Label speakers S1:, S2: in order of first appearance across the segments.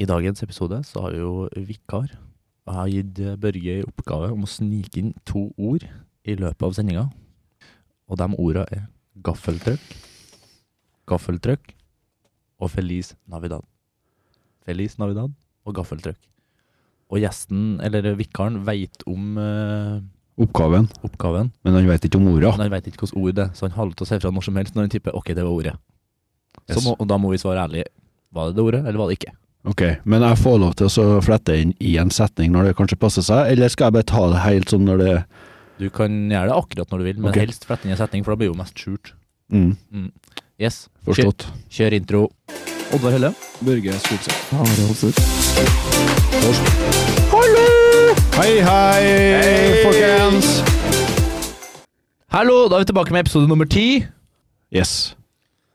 S1: I dagens episode så har jo vikar jeg har gitt Børge i oppgave om å snike inn to ord i løpet av sendinga. Og de orda er gaffeltrøkk, gaffeltrøkk og Feliz Navidad. Feliz Navidad og gaffeltrøkk. Og gjesten, eller vikaren, veit om eh,
S2: Oppgaven,
S1: oppgaven.
S2: men han vet ikke om orda.
S1: Men han veit ikke hvilket ord det er, så han holder til å si fra når som helst når han tipper OK, det var ordet. Så
S2: Yes.
S1: må, og da må vi svare ærlig. Var det det ordet, eller var det ikke?
S2: Ok, men jeg får lov til å så flette inn i en setning når det kanskje passer seg, eller skal jeg bare ta det helt sånn når det
S1: Du kan gjøre det akkurat når du vil, men
S2: Ok.
S1: helst flette inn i en setning, for da blir jo mest skjult.
S2: mm,
S1: Yes, kjør,
S2: Forstått.
S1: kjør intro. Oddvar Helle.
S2: Børge Skogseth. Hei, hei, folkens!
S1: Hallo, da er vi tilbake med episode nummer ti.
S2: Yes.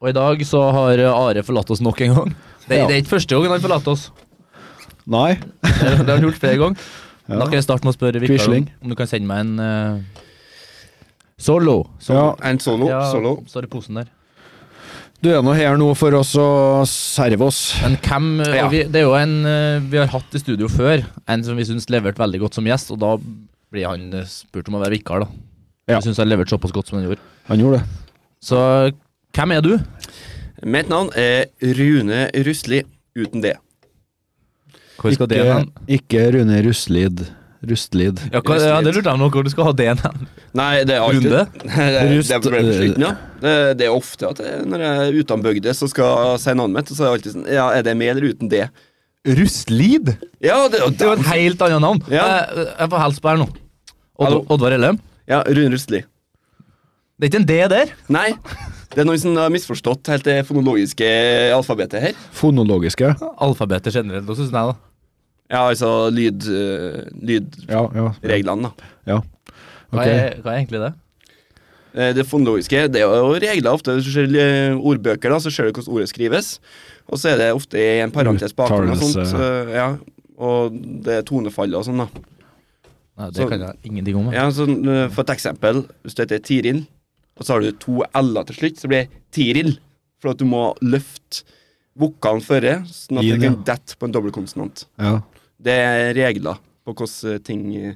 S1: Og i dag så har eh, Are forlatt oss nok en gang. Det,
S2: Ja.
S1: det er ikke første gangen han forlatt oss.
S2: Nei.
S1: Det har han gjort flere ganger.
S2: Ja.
S1: Da kan jeg starte med å spørre Vikar om,
S2: Quisling.
S1: om du kan sende meg en eh, Solo.
S2: Ja,
S3: En solo.
S1: Ja,
S3: solo.
S1: Står i posen der.
S2: du er nå her nå for oss å serve oss.
S1: Men hvem og
S3: Ja.
S1: vi, Det er jo en eh, vi har hatt i studio før, en som vi syns leverte veldig godt som gjest, og da blir han eh, spurt om å være vikar, da.
S2: Ja.
S1: Vi syns han leverte såpass godt som han gjorde.
S2: Han gjorde det.
S1: Så hvem er du?
S3: Mitt navn er Rune Rustli. Uten det.
S1: Hvor skal det
S2: ikke,
S1: hen?
S2: ikke Rune Rustlid. Rustlid.
S1: Ja, hva, ja, det lurte jeg på, hvor du skal ha det hen?
S3: Nei, det er alltid
S1: Runde?
S3: det,
S2: Rust-
S3: det, ble på slutten, ja. det, det er ofte at jeg, når jeg er uten bygde, så skal jeg si navnet mitt, og så er det alltid sånn Ja, er det med eller uten det?
S1: Rustlid?
S3: Ja, det, og
S1: Det er jo et helt annet navn.
S3: Ja.
S1: Jeg, jeg får hilse på her nå. Odd,
S3: Hallo.
S1: Oddvar Ellem.
S3: ja, Rune Rustli.
S1: Det er ikke en D der.
S3: Nei, det er noen som har misforstått helt det fonologiske alfabetet her.
S2: Fonologiske.
S1: Alfabetet generelt, syns jeg, da.
S3: Ja, altså lyd, øh, lydreglene,
S2: Ja, ja.
S3: da.
S1: Hva,
S2: Ok.
S1: er, hva er egentlig det?
S3: Eh, Det fonologiske det er jo regler ofte. Hvis du ser eh, ordbøker, da, så ser du hvordan ordet skrives. Og så er det ofte i en parentes bakom. Og, sånt,
S2: Uttalelse.
S3: eh, ja. og det er tonefallet og sånn, da.
S1: Nei, det
S3: Så-
S1: kan jeg ingenting om. jeg.
S3: Ja, sånn, eh, for et eksempel, hvis du heter Tiril, og så har du to L-er til slutt, så blir det Tiril. For at du må løfte vokalen føre, sånn at
S2: Inn,
S3: det
S2: ja.
S3: kan dette på en dobbeltkonsonant.
S2: ja.
S3: Det er regler på hvordan ting eh,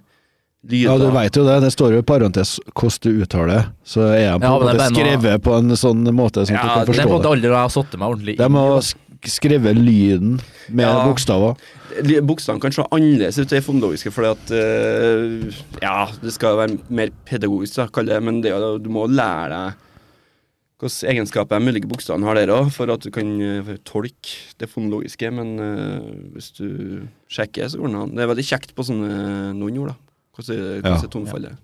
S2: Ja, du
S3: lyder.
S2: veit jo det. Det står jo i parentes hvordan du uttaler det. Så er jeg
S1: Ja, men
S2: på en
S1: det er
S2: måte
S1: bare noe-
S2: skrevet på en sånn måte
S1: Det
S2: sånn at du kan
S3: Ja,
S1: er på en
S2: forstå
S1: måte
S2: det.
S1: aldri jeg har satt meg ordentlig
S2: De
S1: inn.
S2: må sk- skrive lyden med
S3: Ja.
S2: bokstaver.
S3: Li- Buksene kan se annerledes ut i det fonologiske, fordi at eh, Ja, det skal være mer pedagogisk, da, kaller jeg det, men det, er jo- du må lære deg hvilke egenskaper de ulike buksene har der òg, for at du kan eh, tolke det fonologiske. Men eh, hvis du sjekker, så går det an. Det er veldig kjekt på sånne noen ord, da. Hvordan
S2: Ja.
S3: hvordan er tonefallet?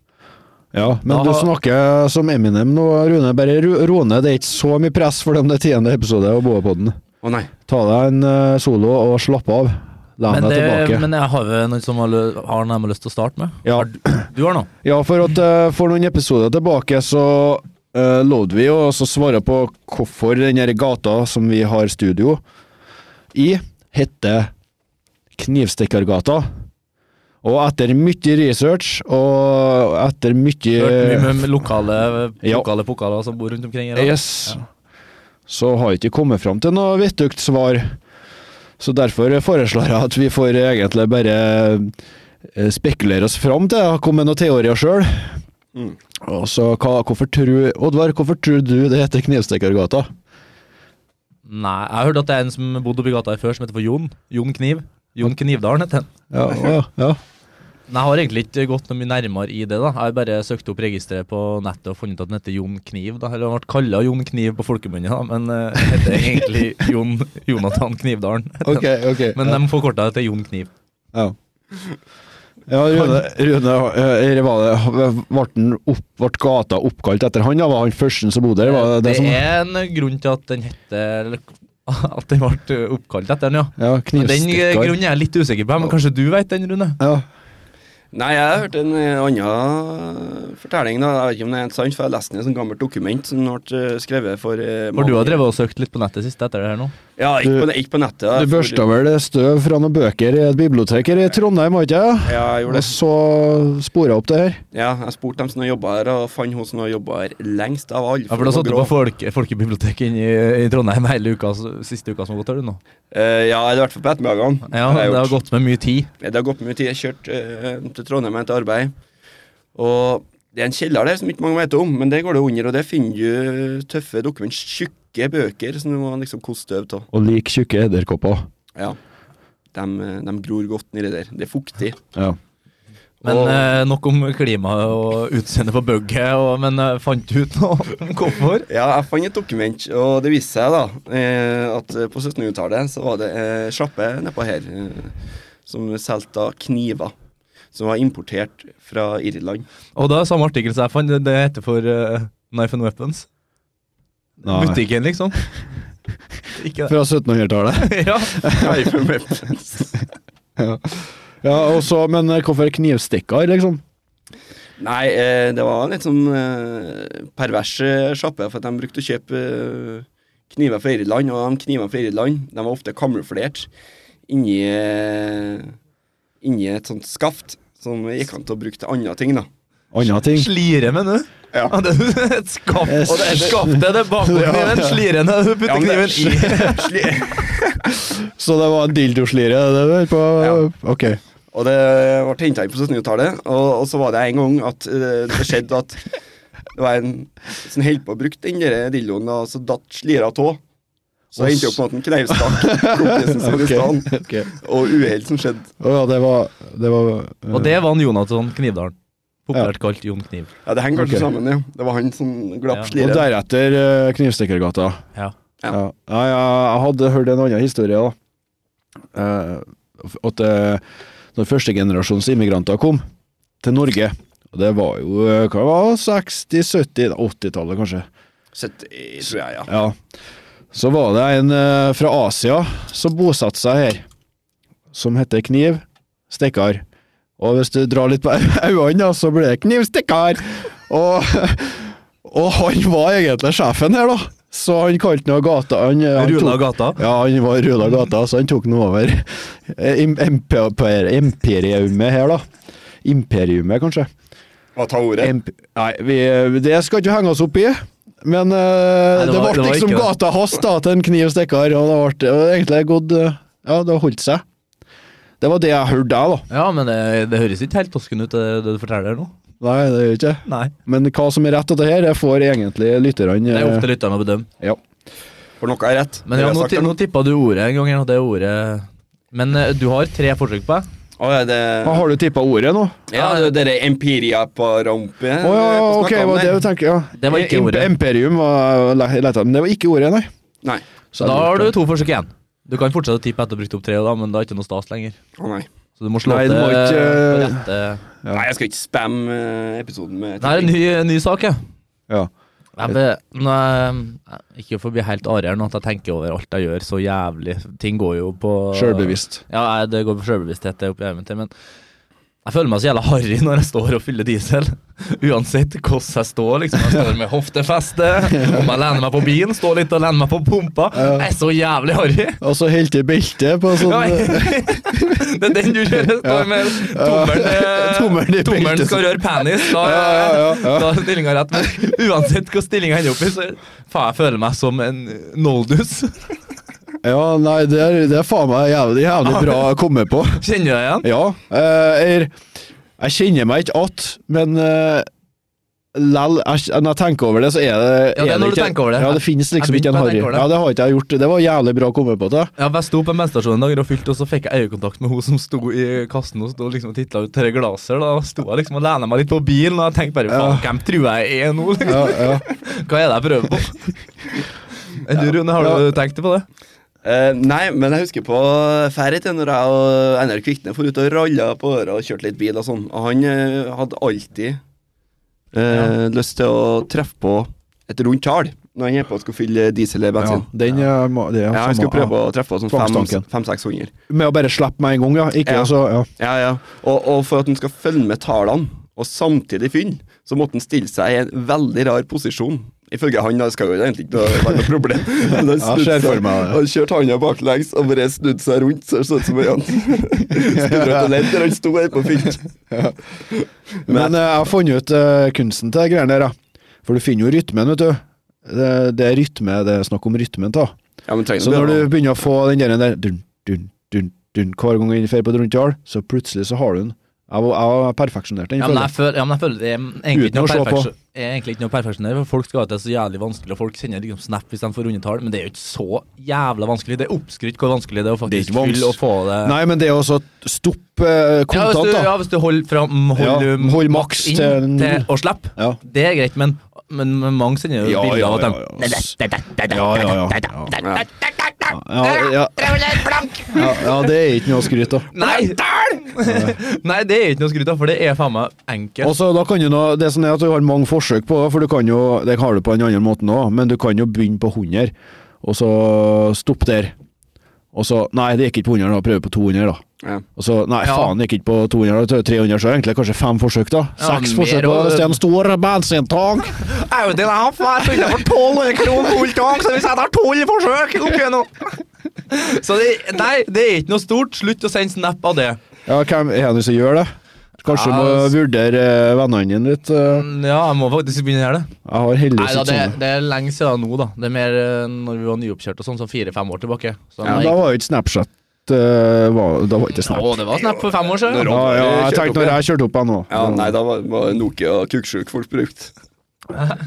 S2: Ja, men
S1: Da
S2: du
S1: har-
S2: snakker som Eminem nå, Rune. Bare ro ro ned. Det er ikke så mye press for dem det tiende episode av Boapodden.
S3: Å nei.
S2: Ta deg en eh, solo og slapp av. La
S1: Men,
S2: meg
S1: det,
S2: tilbake.
S1: men jeg har jo noen som har, lø- har noen jeg har lyst til å starte med.
S2: Ja.
S1: Har du, du har noe?
S2: Ja, for at eh, for noen episoder tilbake så uh, lovde vi jo også å svare på hvorfor den her gata som vi har studio i, heter Knivstikkergata. Og etter mye research og etter
S1: Hørt mye
S2: mye
S1: med lokale,
S2: Ja.
S1: lokale pokaler som bor rundt omkring her. da.
S2: Yes. Så har ikke kommet fram til noe vettugt svar. Så derfor foreslår jeg at vi får egentlig bare eh, spekulere oss fram til å komme med noen teorier sjøl.
S3: Mm.
S2: Og så, hva, hvorfor tror, Oddvar, hvorfor tror du det heter Knivstikkergata?
S1: Nei, jeg hørte at det er en som bodde oppi gata her før, som heter for Jon. Jon Kniv. Jon Knivdalen heter han.
S2: Ja, å ja, ja.
S1: Men jeg har egentlig ikke gått noe mye nærmere i det. da Jeg har bare søkt opp registeret på nettet og funnet ut at den heter Jon Kniv. da Eller han ble kalla Jon Kniv på folkemunne, da, men eh, heter egentlig Jon Jonathan Knivdalen.
S2: Ok, ok.
S1: Men de forkorta det til Jon Kniv.
S2: ja. ja, Rune, Rune eh, her var det, ble, den opp, ble gata oppkalt etter han? Ja, var han førsten som bodde der? Var det, det, som,
S1: er en grunn til at den heter eller, At den ble oppkalt etter den, ja.
S2: ja,
S1: Men Den eh,
S2: knivstikker.
S1: grunnen er jeg litt usikker på, men kanskje du vet den, Rune?
S2: Ja.
S3: Nei, jeg har hørt en eh, annen fortelling. da, Jeg vet ikke om det er helt sant, for jeg leste den i et sånt gammelt dokument som ble eh, skrevet for eh,
S1: For du har
S3: mange-
S1: drevet og søkt litt på nettet sist etter det her nå?
S3: Ja, ikke på, ne- ikke på nettet. da,
S2: Du
S3: for-
S2: børsta vel støv fra noen bøker i et bibliotek her i Trondheim, har ikke jeg?
S3: Ja, jeg gjorde
S2: Og
S3: det.
S2: så spora jeg opp det her.
S3: Ja, jeg spurte dem som har jobba her, og fant hun som har jobba her lengst. Jeg var aldri
S1: Ja, for du har sittet på folk, folkebiblioteket inne i, i Trondheim hele uka, s- siste uka som har gått her, du nå?
S3: Eh, ja, eller i hvert fall på ettermiddagene.
S1: Ja,
S3: har jeg
S1: det har
S3: gjort.
S1: gått med mye tid.
S3: Det har gått mye tid. Jeg kjørte eh, til Trondheim og til arbeid. Og det er en kjeller der som ikke mange vet om, men det går det under, og der finner du tøffe dokument, tjukke bøker som du må liksom koste støv av.
S2: Og lik tjukke edderkopper.
S3: Ja. De, eh, de gror godt nedi der. Det er fuktig.
S2: Ja.
S1: Men
S3: og,
S1: eh, nok om klima og utseende på bugget, og- men eh, fant du ut noe om hvorfor?
S3: ja, jeg fant et dokument, og det viste seg da eh, at eh, på 1700-tallet så var det eh, sjappe nedpå her eh, som solgte kniver. Som var importert fra Irland.
S1: Og da er samme artikkel som jeg fant, det- det heter for eh, Knife and Weapons.
S2: Nei.
S1: Butikken, liksom. Ikke
S2: Fra 1700-tallet.
S1: Ja.
S2: Ja. ja, og så, men eh, hvorfor knivstikker, liksom?
S3: Nei, eh, det var litt sånn eh, pervers eh, sjappe, for at de brukte å kjøpe eh, kniver fra Irland, og de knivene fra Irland de var ofte kamuflert inni, eh, inni et sånt skaft som gikk an til å bruke til andre ting, da.
S2: Andre ting.
S1: Slire med nå.
S3: Ja.
S1: Ja, det er Et skaft,
S2: Jeg
S1: og det er et skaft det er det bakpå
S2: Ja,
S1: kniven,
S2: ja.
S1: sliren er det du putter
S3: men det-
S1: kniven i.
S3: sli-
S2: Så det var en dildoslire? Det der på, Ok.
S3: og det ble henta inn på 1700-tallet, og, og så var det en gang at eh, det skjedde at det var en som holdt på å bruke den der dildoen, og så datt slira av. Så
S2: Og
S3: det
S2: s-
S3: endte opp med at en knivstakk kompisen sin i
S2: Ok.
S3: stedet.
S2: Ok.
S3: og uhell som skjedde.
S2: Å ja, det var, det var eh,
S1: Og det var han Jonathan Knivdalen. Populært kalt Jon Kniv.
S3: Ja, Det henger kanskje
S2: Ok.
S3: sammen, ja. Det var han som glapp
S1: Ja.
S2: og
S3: slire.
S2: deretter eh, Knivstikkergata.
S1: Ja.
S3: Ja.
S2: Ja. Nei, jeg, jeg hadde hørt en annen historie, da. Eh, f- at eh, når førstegenerasjons immigranter kom til Norge og Det var jo eh, hva var det, 60-, 70-, 80-tallet, kanskje.
S3: Sett, eh, tror jeg, ja.
S2: Ja. Så var det en eh, fra Asia som bosatte seg her, som heter Kniv Stikkar. Og hvis du drar litt på øynene, da, så blir det Kniv Stikkar! Og, og han var egentlig sjefen her, da. Så han kalte nå gata han, eh, han
S1: Rula
S2: tok-
S1: gata.
S2: Ja, han var rula gata, så han tok nå over eh, im- imper- imperiumet her, da. Imperiumet, kanskje.
S3: Hva ta ordet?
S2: Emp nei, vi, eh, det skal ikke henge oss opp i. Men eh,
S1: Nei,
S2: det,
S1: det var-
S2: ble
S1: det var
S2: liksom
S1: ikke det.
S2: gata hans da, til en kniv stikker, og det ble og egentlig gått eh, Ja, det har holdt seg. Det var det jeg hørte, jeg, da.
S1: Ja, men det, det høres ikke helt tosken ut, det, det du forteller her nå.
S2: Nei, det gjør ikke det.
S1: Nei.
S2: Men hva som er rett av det her, det får egentlig lytterne
S1: Det er
S2: eh,
S1: opp til lytterne å bedømme.
S2: ja.
S3: For noe er rett.
S1: Men ja,
S3: Det
S1: nå,
S3: har
S1: ti-
S3: jeg
S1: nå
S3: sagt,
S1: tippa du ordet en gang. Ja, det ordet Men eh, du har tre forsøk på deg.
S3: da. Å, ja, det,
S2: Ah, Har du tippa ordet nå? Å
S3: ja, det, det er Empiria på rampe.
S2: ja, ja, ok, var det du tenker, ja.
S1: Det var ikke
S2: Im-
S1: ordet.
S2: Imperium var jeg lette, men det var ikke ordet, nei.
S3: Nei.
S2: Så
S1: Da
S2: jeg
S1: har du
S2: lurte.
S1: to forsøk igjen. Du kan fortsette å tippe etter å ha brukt opp tre, da, men da er det ikke noe stas lenger.
S3: Å nei.
S1: Så du må slå
S2: Nei,
S1: opp
S2: du
S1: det
S2: må ikke,
S1: eh,
S2: eh,
S1: rette
S2: Ja.
S3: Nei, jeg skal ikke spamme eh, episoden med
S1: Det er en ny, en ny sak, ja.
S2: Ja.
S1: Jeg be, nei, eh, ikke for å bli helt arier nå at jeg tenker over alt jeg gjør, så jævlig. Ting går jo på
S2: Sjølbevisst.
S1: Ja, nei, det går på sjølbevissthet, det er opp i evnen til, men jeg føler meg så jævla harry når jeg står og fyller diesel. Uansett hvordan jeg står, liksom. Jeg står med hoftefeste, om jeg lener meg på bilen, står litt og lener meg på pumpa. Jeg er så jævlig harry.
S2: Og så helt i beltet på sånn
S1: Ja, det er den du kjører. Står med tommelen eh,
S2: Tommelen i
S1: Tommelen
S2: beltet.
S1: skal røre penis. Da,
S2: Ja, ja, ja, ja.
S1: da er stillinga rett. Men uansett hva stillinga ender opp i, så faen, jeg føler meg som en noldus.
S2: Ja, nei, det er, det er faen meg jævlig, jævlig bra å komme på.
S1: Kjenner du deg igjen?
S2: Ja. eh, jeg- jeg kjenner meg ikke att, men eh, lell jeg, Når jeg tenker over det, så er det
S1: Ja, det er når
S2: ikke,
S1: du tenker over det.
S2: Ja, det finnes liksom
S1: Jeg
S2: ikke en
S1: begynte å
S2: harry.
S1: tenke over det.
S2: Ja, det har ikke jeg gjort. Det var jævlig bra å komme på det.
S1: Ja, for Jeg sto på en bensinstasjon en dag og fylte, og så fikk jeg øyekontakt med hun som sto i kassen og sto liksom og titta ut til glaset. Da sto jeg liksom og lena meg litt på bilen, og jeg tenkte bare faen, hvem tror jeg er nå? Liksom.
S2: Ja, ja.
S1: Hva er det jeg prøver på? Enn du, Rune, har du tenkt på det?
S3: Eh, nei, men jeg husker på ferie til når jeg og Einar Kvikne for ut og ralla på øra og kjørte litt bil og sånn. Og han eh, hadde alltid eh, lyst til å treffe på et rundt tall. Når han er på og skal fylle diesel eller
S2: Ja,
S3: bensin.
S2: den er, må- det er
S3: Ja, jeg
S2: samme-
S3: skulle prøve å treffe sånn
S2: Tvangstanken.
S3: 500-600.
S2: ja. Med å bare slippe meg en gang, ja. Ikke
S3: Ja.
S2: altså ja.
S3: Ja, ja. Og, og for at han skal følge med tallene, og samtidig finne, så måtte han stille seg i en veldig rar posisjon. Ifølge han, da det skal jo egentlig ikke noe- være noe problem. Men han
S2: Ja,
S3: snudde
S2: ser for
S3: seg-
S2: meg det.
S3: Han kjørte handa baklengs og bare snudde seg rundt, så det så ut som han skulle ut og ledd der han sto her på fint.
S2: Men eh, jeg har funnet ut eh, kunsten til de greiene der, ja. For du finner jo rytmen, vet du. Det, det er rytme, det er snakk om rytmen, da.
S3: Ja, men trenger
S2: Så når du
S3: det,
S2: begynner å få den der, der dun, dun, dun, dun, Hver gang jeg drar på et rundtall, så plutselig så har du den. Jeg, var- jeg har perfeksjonert den.
S1: Ja, men
S2: føler
S1: jeg føler,
S2: jeg.
S1: ja, men jeg føler det er egentlig
S2: Uten
S1: ikke
S2: å
S1: noe
S2: se på.
S1: perfeksjon- er egentlig ikke noe perfeksjonær. for Folk skal ha det så jævlig vanskelig, og folk sender liksom snap hvis de får rundetall, men det er jo ikke så jævla vanskelig. Det er oppskrytt hvor vanskelig det er å
S2: Det er
S1: faktisk
S2: ikke vans-
S1: fylle og få det
S2: Nei, men det er også å stoppe eh,
S1: ja, hvis
S2: kontant,
S1: du,
S2: da.
S1: ja, hvis du holder fram hold,
S2: Ja,
S1: um,
S2: hold
S1: maks
S2: maks
S1: inn
S2: til null.
S1: til å slippe,
S2: Ja.
S1: det er greit, men, men, men mange sender jo
S2: Ja,
S1: bilder
S2: ja,
S1: av at
S2: ja,
S1: de
S2: ja. Ja, ja, ja.
S3: Ja.
S2: Ja, ja, ja, ja, det er ikke noe å skryte av.
S1: Nei! Nei, det er ikke noe å skryte av, for det er faen meg enkelt.
S2: Og så da kan du nå, Det som er at du har mange forsøk på det, for du kan jo, det har du på den andre måten òg, men du kan jo begynne på 100, og så stoppe der. Og så Nei, det gikk ikke på 100, da prøver vi på 200, da.
S3: Ja.
S2: Og så Nei,
S1: Ja.
S2: faen, det gikk ikke på 200, da tar vi 300, så er det egentlig kanskje fem forsøk, da.
S1: Ja,
S2: Seks
S1: mer
S2: forsøk på
S1: og-
S2: hvis det er en stor bensintank.
S1: Audien er fæl for 1200 kroner full tank, så vi setter her tolv forsøk! Ok, nå. Så det, nei, det er ikke noe stort. Slutt å sende snap av det.
S2: Ja, hvem er det som gjør det? Kanskje du
S1: Ja, altså.
S2: må
S1: s-
S2: vurdere eh, vennene dine litt. eh.
S1: Mm, Ja, jeg må faktisk begynne å gjøre det.
S2: Jeg har
S1: Nei,
S2: heldigvis
S1: da,
S2: ikke
S1: det,
S2: sånne.
S1: det er lenge siden nå, da. Det er mer eh, når vi var nyoppkjørt og sånn, så fire-fem år tilbake. Så
S2: Ja,
S1: da
S2: da
S1: gikk-
S2: var jo ikke Snapchat eh, var, Da var ikke Snap.
S1: Å, det var snap for fem år siden.
S3: Når-
S2: Ja, ja, jeg
S3: Kjørte
S2: tenkte
S3: opp
S2: når jeg kjørte opp jeg nå.
S3: Ja, nei, da var, var Nokia kuksjuk folk brukt.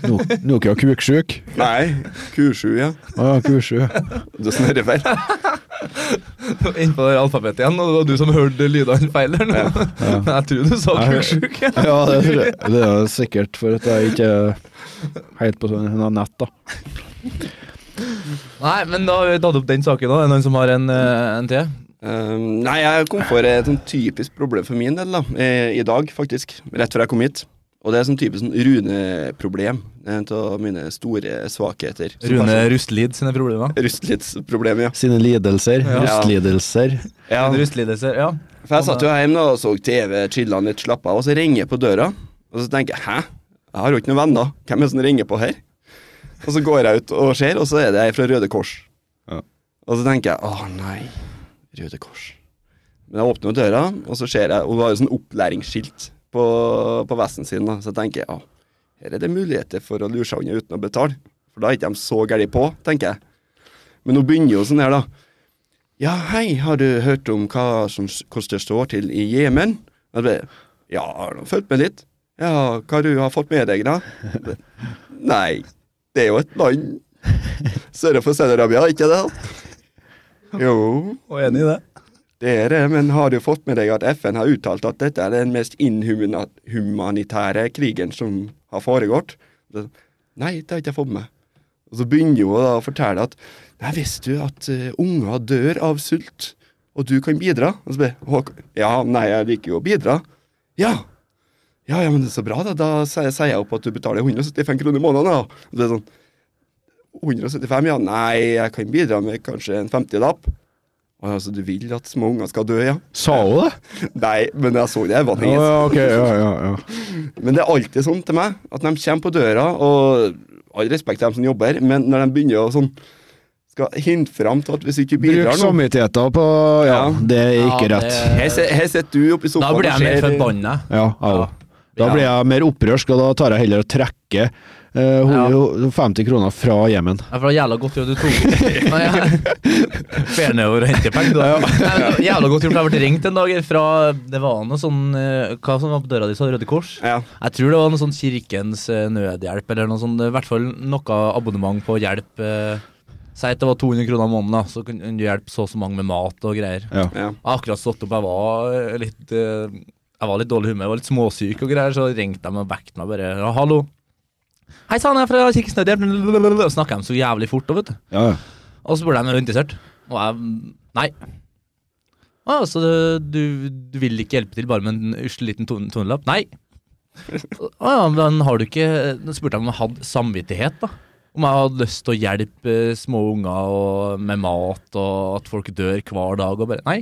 S2: No, Nokia kuksjuk.
S3: Nei, Q7, ja.
S2: Å ja, kuksjuk.
S3: Du snørrer feil.
S1: Innpå det alfabetet igjen, og det var du som hørte lydene feil der nå. Men jeg tror du sa
S2: Jeg hører-
S1: kuksjuk. ja.
S2: Ja, det, tror jeg. det er sikkert for at jeg ikke er helt på sånn hun har nett, da.
S1: Nei, men da har vi tatt opp den saken òg. Er det noen som har en, eh, en til?
S3: Ehm, nei, jeg kom for et sånn typisk problem for min del da, eh, i dag, faktisk. Rett før jeg kom hit. Og det er sånn typisk sånn Rune-problem. En av mine store svakheter. Så
S1: Rune
S3: kanskje-
S1: Rustlid sine problemer?
S3: Rustlidtsproblem, ja.
S2: Sine lidelser.
S1: Ja.
S2: Rustlidelser.
S3: ja.
S1: Rustlidelser, ja.
S3: For jeg satt jo hjemme da, og så TV, chilla litt, slappa av, og så ringer jeg på døra. Og så tenker jeg 'hæ, jeg har jo ikke noen venner, hvem er det som ringer på her?' Og så går jeg ut og ser, og så er det ei fra Røde Kors.
S2: Ja.
S3: Og så tenker jeg 'å nei, Røde Kors'. Men jeg åpner jo døra, og så ser jeg, og hun har jo sånn opplæringsskilt på, på vesten sin, da. så jeg tenker 'å, her er det muligheter for å lure seg unna uten å betale'. For da er ikke de så gærne på, tenker jeg. Men hun begynner jo sånn her, da. Ja, hei, har du hørt om hva som, hvordan det står til i Jemen? Jeg ble, ja, har du fulgt med litt? Ja, hva du har fått med deg, da? Jeg ble, Nei, det er jo et land sør for Saudi-Arabia, ikke det? Jo,
S1: Og enig i det.
S3: det er det, men har du fått med deg at FN har uttalt at dette er den mest inhumanitære krigen som har foregått? Nei, det har ikke jeg fått med meg. Og så begynner hun da å fortelle at Nei, visste du at eh, unger dør av sult, og du kan bidra? Og så ble jeg, «Håk- Ja, nei, jeg liker jo å bidra. Ja. Ja, ja, men det er så bra, da. Da sier sier jeg opp at du betaler 175 kroner i måneden, da. Og det er sånn 175, ja. Nei, jeg kan bidra med kanskje en 50-lapp. Å ja, så du vil at små unger skal dø, ja?
S2: Sa hun det?
S3: Nei, men jeg så det, jeg var
S2: Å
S3: helt
S2: ja, ok. Ja, ja, ja.
S3: men det er alltid sånn til meg, at når de kommer på døra, og all respekt til dem som jobber, men når de begynner å sånn skal hinte fram til at hvis du ikke
S2: Bruk
S3: bidrar nå
S2: samvittigheten på Ja,
S3: Ja.
S2: det er ikke
S1: Ja,
S2: rett.
S1: det-
S3: Her sit- her sitter du oppe i sofaen
S1: Da blir jeg mer
S3: og ser-
S1: forbanna.
S2: Ja, jeg
S1: Ja.
S2: òg. Da blir jeg mer opprørsk, og da tar jeg heller og trekker eh, hun- 50 kroner fra Jemen.
S1: Ja, for det var jævla godt gjort du tok Nei, jeg- Fer nedover og henter penger, da. Nei, men det var Jævla godt gjort. Jeg ble ringt en dag fra Det var noe sånn eh, Hva som var på døra di, sa Røde Kors?
S3: Ja.
S1: Jeg tror det var noe sånn Kirkens eh, Nødhjelp, eller noe sånt. I hvert fall noe abonnement på hjelp. eh, Si at det var 200 kroner i måneden, da, så kunne du hjelpe så og så mange med mat og greier.
S2: Ja.
S3: Ja.
S1: Jeg har akkurat stått opp, jeg var eh, litt eh, Jeg var litt dårlig i humør, jeg var litt småsyk og greier, så ringte de og vekket meg bare. Ja, 'Hallo.' 'Hei sann, jeg er fra Kirkens Nødhjelp.' Snakka de så jævlig fort, da, vet du.
S2: Ja, ja.
S1: Og så spurte de om jeg var interessert, og jeg Nei. Å, så du, du vil ikke hjelpe til bare med en usle liten ton- tonelapp? Nei. Å ja, men har du ikke Da spurte jeg om jeg hadde samvittighet, da. Om jeg hadde lyst til å hjelpe eh, små unger og, med mat, og at folk dør hver dag, og bare Nei.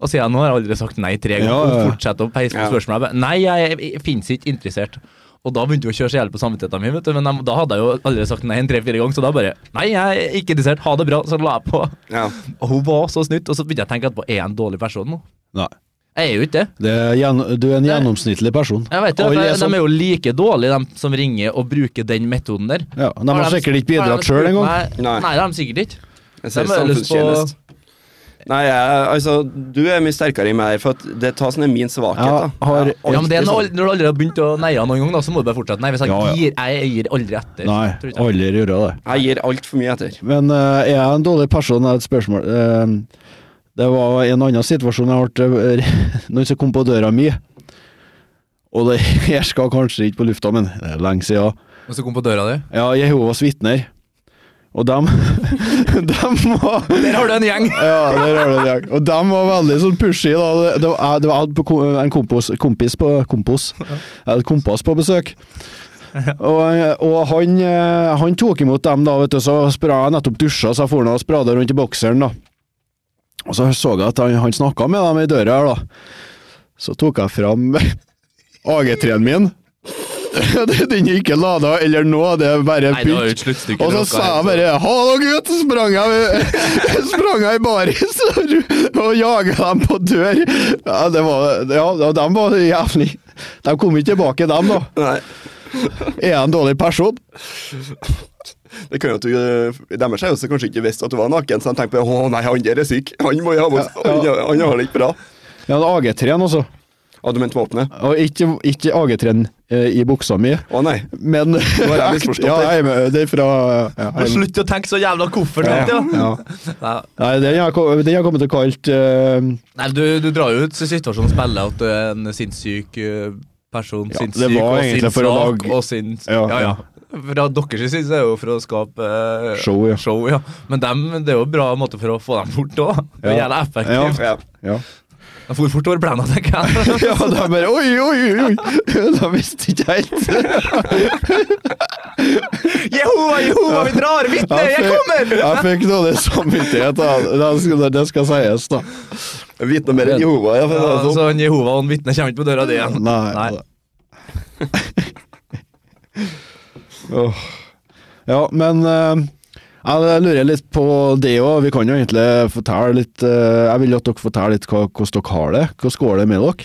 S1: Og siden nå har jeg aldri sagt nei tre ganger,
S2: Ja, ja, ja.
S1: og fortsetter å peise på
S3: Ja.
S1: spørsmål. Jeg bare, Nei, jeg, jeg, jeg finnes ikke interessert. Og da begynte jo å kjøre seg i hjel på samvittigheten min, vet du. Men jeg, da hadde jeg jo allerede sagt nei en tre-fire ganger, så da bare Nei, jeg er ikke interessert. Ha det bra. Så la jeg på.
S3: Ja.
S1: Og hun var så snytt, og så begynte jeg å tenke etterpå, er jeg en dårlig person nå?
S2: Nei.
S1: Jeg er jo ikke det.
S2: Det er gjen- du er en gjennomsnittlig person.
S1: Jeg vet jo,
S2: Alle
S1: at
S2: er
S1: jeg- De
S2: sånn.
S1: er jo like dårlige, de som ringer og bruker den metoden der.
S2: Ja, de har sikkert ikke bidratt sjøl engang.
S1: Nei.
S3: Nei.
S1: Nei, det har de sikkert ikke.
S3: Jeg ser
S1: Hvem har lyst på-
S3: samfunnstjenest. Nei, jeg, altså, du er mye sterkere i meg, her, for at det er- ta sånn er min svakhet.
S2: Ja,
S3: da.
S2: har-
S3: Jeg
S1: Ja, men det er
S3: alltid
S1: når,
S3: sånn.
S1: når du aldri har begynt å neie noen gang, da, så må du bare fortsette. Nei, hvis jeg
S2: Ja, ja.
S1: gir, jeg gir aldri etter.
S2: Nei,
S1: Tror ikke jeg.
S2: aldri gjøre det.
S3: Jeg gir altfor mye etter.
S2: Men eh, er jeg en dårlig person, er et spørsmål. Eh, det var en annen situasjon jeg ble eh, Noen som kom på døra mi. Og det her skal kanskje ikke på lufta, men det er lenge siden.
S1: Og så kom på døra di.
S2: Ja, Jehovas vitner. Og dem Dem var
S1: Der har du en gjeng!
S2: ja, der har du det. Jack. Og de var veldig sånn pushy. da. Det, det var, det var jeg på kom- en kompos, kompis på kompos. Jeg hadde kompass på besøk. Og, og han, eh, han tok imot dem, da, vet du, så spra jeg nettopp dusja, så jeg for nå og sprada rundt i bokseren. da. Og så så jeg at han, han snakka med dem i døra her, da. Så tok jeg fram AG3-en min. Den er ikke lada eller noe, det er bare
S1: Nei, det var sånn.
S2: pynt.
S1: jo et sluttstykke.
S2: Og så
S1: dere
S2: sa
S1: har
S2: jeg
S1: hentet.
S2: bare 'hallo, gutt', så sprang jeg, sprang jeg i baris og- og jaga dem på dør. Ja, det var, ja, og dem var jævlig De kom ikke tilbake, dem, da.
S3: Nei,
S2: Er jeg en dårlig person?
S3: det kan jo at du, øh, Deres er jo så kanskje ikke visst at du var naken, så de tenker på å nei, han der er syk. Han må jo ha vondt.
S2: Ja, ja.
S3: Han, han har det ikke bra.
S2: Ja, det er AG3-en, altså.
S3: Ja, du mente våpenet?
S2: Og ikke, ikke AG3-en eh, i buksa mi,
S3: Å nei.
S2: men
S3: har jeg misforstått
S2: ja,
S3: det.
S2: jeg, er- det er fra ja,
S1: Men
S2: jeg,
S1: Slutt å tenke så jævla koffert, vet
S2: ja,
S1: du.
S2: ja.
S1: Nei,
S2: Nei, den har jeg kom- den har jeg kommet til å kalt eh,
S1: Nei, du, du drar jo ut til situasjonen og spiller at du er en sinnssyk eh, person.
S2: Ja,
S1: sinnssyk
S2: det var
S1: og
S2: egentlig for å
S1: sinnssvak
S2: lage-
S1: og sinns... Ja,
S2: Ja,
S1: ja.
S2: ja.
S1: Fra deres side så er det jo for å skape eh,
S2: Show, ja.
S1: ja. Men dem, det er jo en bra måte for å få dem bort òg.
S2: Ja.
S1: Jævla effektivt.
S3: Ja.
S2: Ja.
S1: De for fort over plenen, tenker jeg.
S2: Ja, da bare Oi, oi, oi! Da visste ikke jeg helt.
S1: Jehova, Jehova, vi drar! Vitne, jeg kommer!
S2: Jeg fikk dårlig samvittighet, da. Det skal, det skal sies, da.
S3: Vite noe mer enn Jehova. Ja, for
S1: Ja, altså,
S3: det er sånn.
S1: så en Jehova og en vitne kommer ikke på døra di igjen. Nei.
S2: altså. Åh. Ja, men eh, jeg lurer litt på det òg. Vi kan jo egentlig fortelle litt eh, Jeg vil at dere forteller litt hva- hvordan dere har det. Hvordan går det med dere?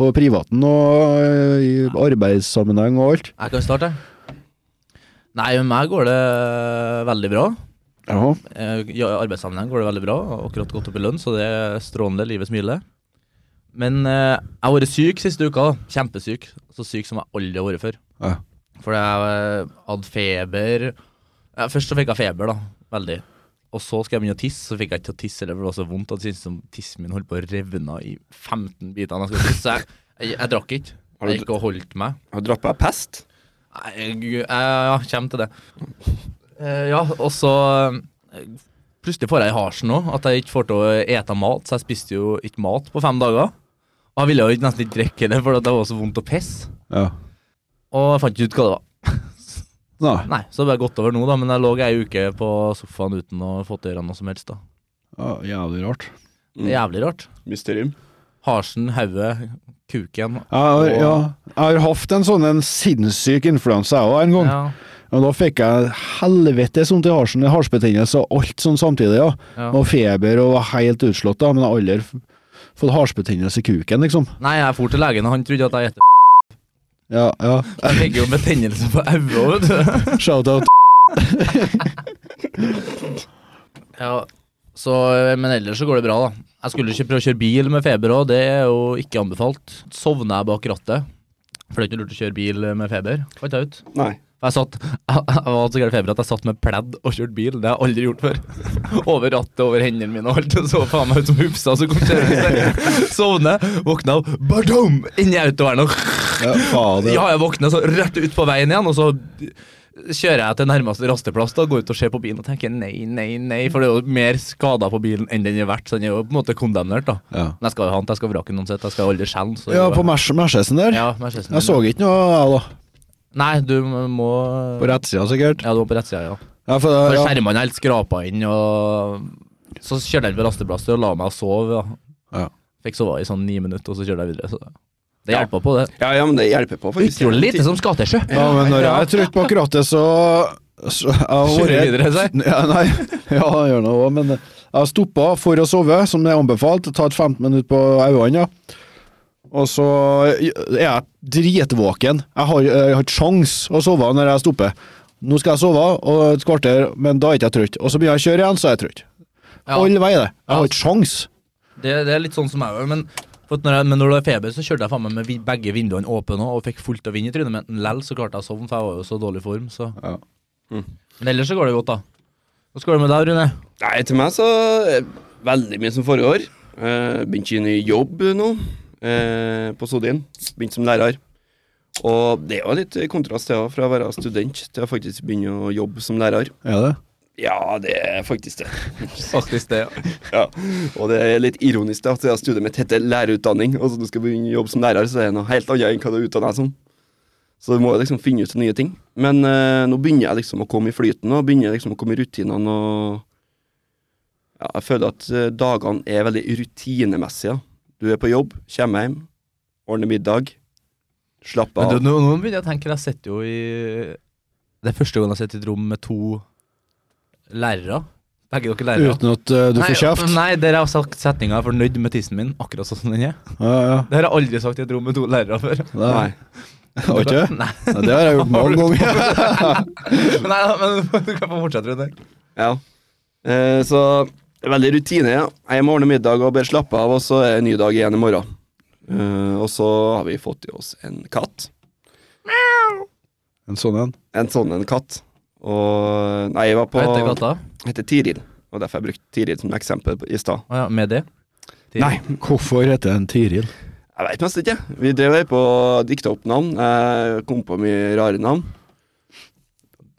S2: På privaten og eh, i arbeidssammenheng og alt.
S1: Jeg kan starte. Nei, med meg går det eh, veldig bra.
S2: Ja.
S1: Eh, I arbeidssammenheng går det veldig bra. og Akkurat gått opp i lønn, så det er strålende. Livet smiler. Men eh, jeg har vært syk siste uka. da. Kjempesyk. Så syk som jeg aldri har vært før.
S2: Ja.
S1: For jeg eh, hadde feber. Ja, først så fikk jeg feber, da. Veldig. Og så skal jeg begynne å tisse, så fikk jeg ikke til å tisse heller, for det var så vondt at det syntes som tissen min holdt på å revne i 15 biter. når Jeg, skulle tisse. Så jeg, jeg, jeg drakk ikke.
S3: du-
S1: Jeg gikk og holdt meg.
S3: Har du dratt på deg pest?
S1: Nei, jeg, ja, kommer til det. Eh, ja, og så eh, Plutselig får jeg i harsen òg, at jeg ikke får til å ete mat, så jeg spiste jo ikke mat på fem dager. Og jeg ville jo ikke- nesten ikke drikke heller, for det var så vondt å pisse.
S2: ja.
S1: Og jeg fant ikke ut hva det var.
S2: Nei.
S1: Nei, så det har gått over nå, da, men jeg lå ei uke på sofaen uten å få til å gjøre noe som helst. da.
S2: Ja, jævlig rart.
S1: Det er jævlig rart.
S3: Mysterium.
S1: Harsen, hodet, kuken.
S2: Jeg har, ja, jeg har hatt en sånn en sinnssyk influensa jeg òg en gang.
S1: Ja,
S2: Og da fikk jeg helvetes vondt i halsen, halsbetennelse og alt sånn samtidig. ja.
S1: ja.
S2: Og feber og var helt utslått, da, men jeg har aldri f- fått halsbetennelse i kuken, liksom.
S1: Nei, jeg for til legen, og han trodde at jeg gjette.
S2: Ja, ja.
S1: Jeg fikk jo betennelse på hodet, vet du.
S2: Shout-out.
S1: Ja, så, men ellers så går det bra, da. Jeg skulle ikke prøve å kjøre bil med feber òg, det er jo ikke anbefalt. Sovner jeg bak rattet. For det er ikke lurt å kjøre bil med feber. Fant jeg ut.
S3: Nei.
S1: For Jeg satt, jeg, jeg var så gæren feber at jeg satt med pledd og kjørte bil. Det har jeg aldri gjort før. Over rattet, over hendene mine og alt. Og så faen meg ut som Hufsa som kom kjørende. Sovne, våkna av badom! Inni autovernet.
S2: Ja, faen,
S1: Ja, jeg våkner så rett ut på veien igjen, og så kjører jeg til nærmeste rasteplass da, går ut og ser på bilen og tenker nei, nei, nei, for det er jo mer skader på bilen enn den er verdt, så den er jo på en måte kondemnert, da.
S2: Ja.
S1: Men jeg skal jo ha den, jeg skal vrake den uansett, jeg skal jo aldri skjelne. så-
S2: ja, på Mercedesen der.
S1: ja, Mercedesen min.
S2: Jeg så ikke noe, jeg, da.
S1: Nei, du må
S2: På rettsida, sikkert.
S1: Ja, du var på rett side, ja.
S2: Ja, for,
S1: For
S2: ja.
S1: skjermene er helt skrapa inn, og så kjørte jeg på rasteplasser og la meg og sov. Ja.
S2: Ja.
S1: Fikk sove i sånn ni minutter, og så kjørte jeg videre. Så det
S3: Ja.
S1: hjelper på, det.
S3: Ja, ja, men det hjelper på, faktisk.
S1: Utrolig lite som skal til sjø.
S2: ja, men når jeg er trøtt bak rattet, så, så jeg har
S1: Kjører
S2: vært-
S1: videre, sier.
S2: Ja, nei. Ja, jeg gjør det òg, men jeg har stoppa for å sove, som det er anbefalt. Ta et 15 minutter på øynene. ja. Og så er jeg dritvåken. Jeg har, eh, jeg har ikke sjans å sove når jeg stopper. Nå skal jeg sove og et kvarter, men da er ikke jeg trøtt. Og så begynner jeg å kjøre igjen, så er jeg trøtt.
S1: Ja.
S2: All vei, det. Jeg
S1: Ja.
S2: har ikke sjans.
S1: Det, det er litt sånn som jeg òg, men, for at når jeg- men når det er feber, så kjørte jeg faen meg med vi- begge vinduene åpne og fikk fullt av vind i trynet, men lell så klarte jeg å sovne, for jeg var jo så dårlig form, så
S2: Ja.
S3: Mm.
S1: Men ellers så går det godt, da. Hva skal det med deg, Rune?
S3: Nei, til meg så er det veldig mye som foregår. Eh, Begynte i ny jobb nå, eh, på Sodin. Begynte som lærer. Og det er jo litt kontrast til å- fra å være student til å faktisk begynne å jobbe som lærer.
S2: Er det?
S3: Ja, det er faktisk det.
S1: Faktisk det, ja.
S3: Ja. Og det er litt ironisk da, at jeg studerer med tette lærerutdanning, og så du skal begynne å jobbe som lærer, så er det noe helt annet enn hva du utdanner deg som. Så du må jo liksom finne ut nye ting. Men eh, nå begynner jeg liksom å komme i flyten, og begynner liksom å komme i rutinene, og ja, jeg føler at eh, dagene er veldig rutinemessige. da. Du er på jobb, kommer hjem, ordner middag,
S1: Men
S3: slapper av.
S1: du, nå, nå begynner jeg å tenke, jeg sitter jo i Det er første gang jeg sitter i et rom med to lærere. Begge dere lærere.
S2: Uten at eh, du
S1: nei,
S2: får kjeft?
S1: Nei, dere har sagt setninga 'jeg er fornøyd med tissen min', akkurat sånn som den er.
S2: Ja, ja.
S1: Det har jeg aldri sagt i et rom med to lærere før.
S2: Det,
S3: Nei.
S2: Har ikke?
S1: Nei,
S2: Ja, det har jeg gjort mange ganger.
S1: nei, men du kan få fortsette, Rune.
S3: Ja. Eh, så veldig rutine. Ja. Jeg må ordne middag og bare slappe av, og så er det en ny dag igjen i morgen. Eh, og så har vi fått i oss en katt.
S2: En sånn en.
S3: En sånn en katt. Og Nei, jeg var på
S1: Hva heter gata?
S3: Heter Tiril. Og derfor jeg brukte Tiril som eksempel på- i stad.
S1: Å ja, med det? Til-
S3: Nei,
S2: Hvorfor heter den Tiril?
S3: jeg veit mest ikke. Vi drev her på å dikte opp navn. Jeg kom på mye rare navn.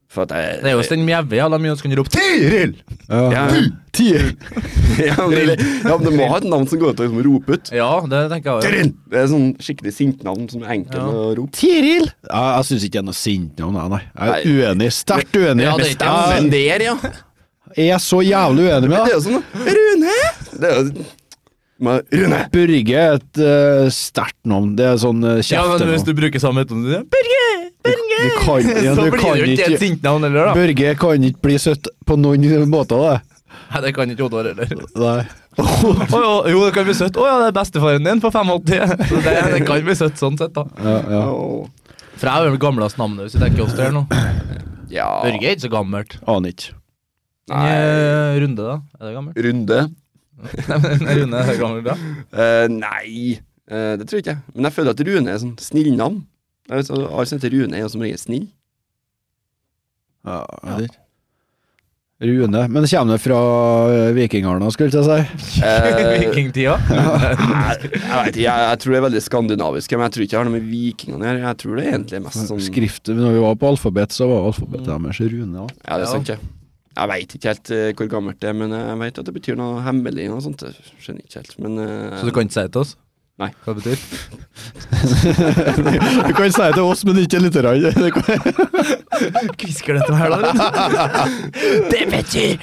S3: For at jeg
S1: Det er jo Stein Mjæve, ja. La meg ønske han rope 'Tiril'!
S2: Ja.
S3: Ja.
S2: Tiril.
S3: ja, men, det- ja, men du må ha et navn som går ut og liksom rope ut.
S1: Ja, det tenker jeg.
S3: Tiril! Det er sånn skikkelig sintnavn som er enkelt
S1: Ja.
S3: å rope.
S2: Tiril? Ja, jeg syns ikke det er noe sint navn, nei, nei. Jeg er uenig. Sterkt uenig.
S1: Ja, det er ikke
S2: jeg
S1: noe-
S3: der, ja.
S2: jeg er så jævlig uenig med
S3: Det er
S2: deg.
S3: jo sånn, da. Rune! Det er jo Men Rune!
S2: Børge er et eh, sterkt navn. Det er sånn uh,
S1: Ja, men hvis
S2: kjeftenavn.
S1: du bruker samme metode du sier, 'Børge!
S2: Du
S1: Børge!'
S2: kan, ja,
S1: Så
S2: du
S1: blir
S2: kan
S1: det jo ikke et
S2: ikke
S1: sint navn heller, da.
S2: Børge kan ikke bli søtt på noen måter, det.
S1: Nei, det kan ikke Oddvar heller.
S2: Nei.
S1: Å jo, jo, det kan bli søtt. Å ja, det er bestefaren din på 85. Så det, det kan bli søtt sånn sett, da.
S2: Ja, ja.
S3: Åh.
S1: For jeg er jo det gamleste navnet, hvis du tenker oss der nå.
S3: Ja
S1: Børge er ikke så gammelt.
S2: Aner ikke.
S3: Nei.
S1: Eh, Runde, da? Er det gammelt?
S3: Runde?
S1: Nei, men Rune er gammel, da.
S3: Eh, nei, Eh, det tror jeg ikke. Men jeg føler at Rune er sånn snillnavn. Jeg vet, så Alle som heter Rune, er jo som regel snill.
S2: Ja, jeg vet ikke. Rune. Men det kommer det fra eh, vikingene, skulle jeg til å si.
S3: Eh,
S1: Vikingtida.
S3: Nei, jeg, vet ikke, jeg, jeg tror det er veldig skandinaviske, men jeg tror ikke det har noe med vikingene å gjøre. Jeg tror det er egentlig mest sånn
S2: Skriftet, når vi var på alfabet, så var alfabetet
S1: Mm.
S2: deres Rune. Ja.
S3: Ja, det er sant, ja. Jeg veit ikke helt eh, hvor gammelt det er, men jeg veit at det betyr noe hemmelig og sånt. Jeg skjønner ikke helt, men eh,
S1: Så du kan ikke si det til oss?
S3: Nei.
S1: Hva det betyr
S2: Du kan si det til oss, men ikke litt. rann. Det kan-
S1: Kvisker dette her, da? Det betyr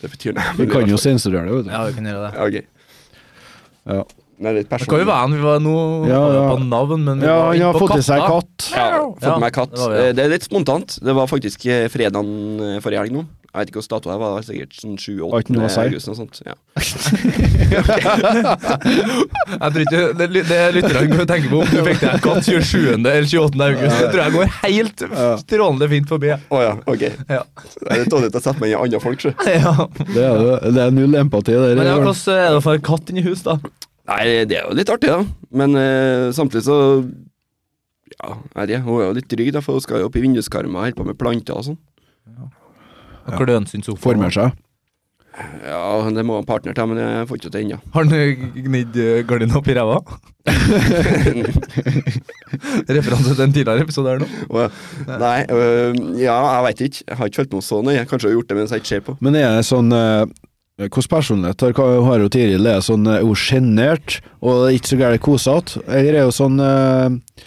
S3: det betyr noe
S2: Vi
S3: hemmelig.
S2: kan jo sensurere det, vet du.
S1: Ja, vi kan gjøre det.
S3: Ja, ok.
S2: Ja.
S3: Det er litt
S1: Det kan
S3: personlig.
S1: jo være han vi var nå
S2: Ja, ja.
S1: på navn, men vi
S2: Ja,
S1: var
S2: han
S1: ikke
S2: har
S1: på
S2: fått i seg
S1: katta.
S2: katt.
S3: Ja, fått
S1: Ja,
S3: meg katt.
S1: det
S3: Det,
S1: var vi, ja.
S3: det er litt spontant. Det var faktisk eh, fredagen eh, forrige helg nå. Jeg vet ikke hvilken dato det var, det var sikkert sånn
S2: Har ikke
S3: 7-8
S2: noe å si.
S3: august og sånt. Ja.
S1: Jeg tror ikke Det, det lytterne kan tenke på om du fikk deg en katt 27. eller 28. august. Det tror jeg går helt strålende fint forbi. jeg.
S3: Å ja, ok.
S1: Ja.
S3: Det er litt dårlig å sette meg inn i andre folk, sjø.
S1: ja.
S2: Det er, det. det er null empati der.
S1: Men ja,
S2: Jørn.
S1: hvordan er det for en katt inni hus, da?
S3: Nei, det er jo litt artig, da. Men eh, samtidig så Ja, jeg vet ikke. Hun er jo litt dryg, da, for hun skal jo opp i vinduskarma og holde på med planter og sånn.
S1: Klønsyns sofa.
S2: Former seg.
S3: Ja, det må ha en partner til, men jeg får ikke til ennå.
S1: Har han eh, gnidd eh, gardina opp i ræva? Referanse til en tidligere episode her nå.
S3: Og- Nei, øh, ja, jeg veit ikke. Jeg har ikke følt noe så nøye. Kanskje jeg har gjort det mens jeg ikke ser på.
S2: Men er det sånn eh, Hvordan personlighet har, har jo Tiril? Er det sånn eh, hun er sjenert og det er ikke så gærent kosete? Eller er hun sånn eh,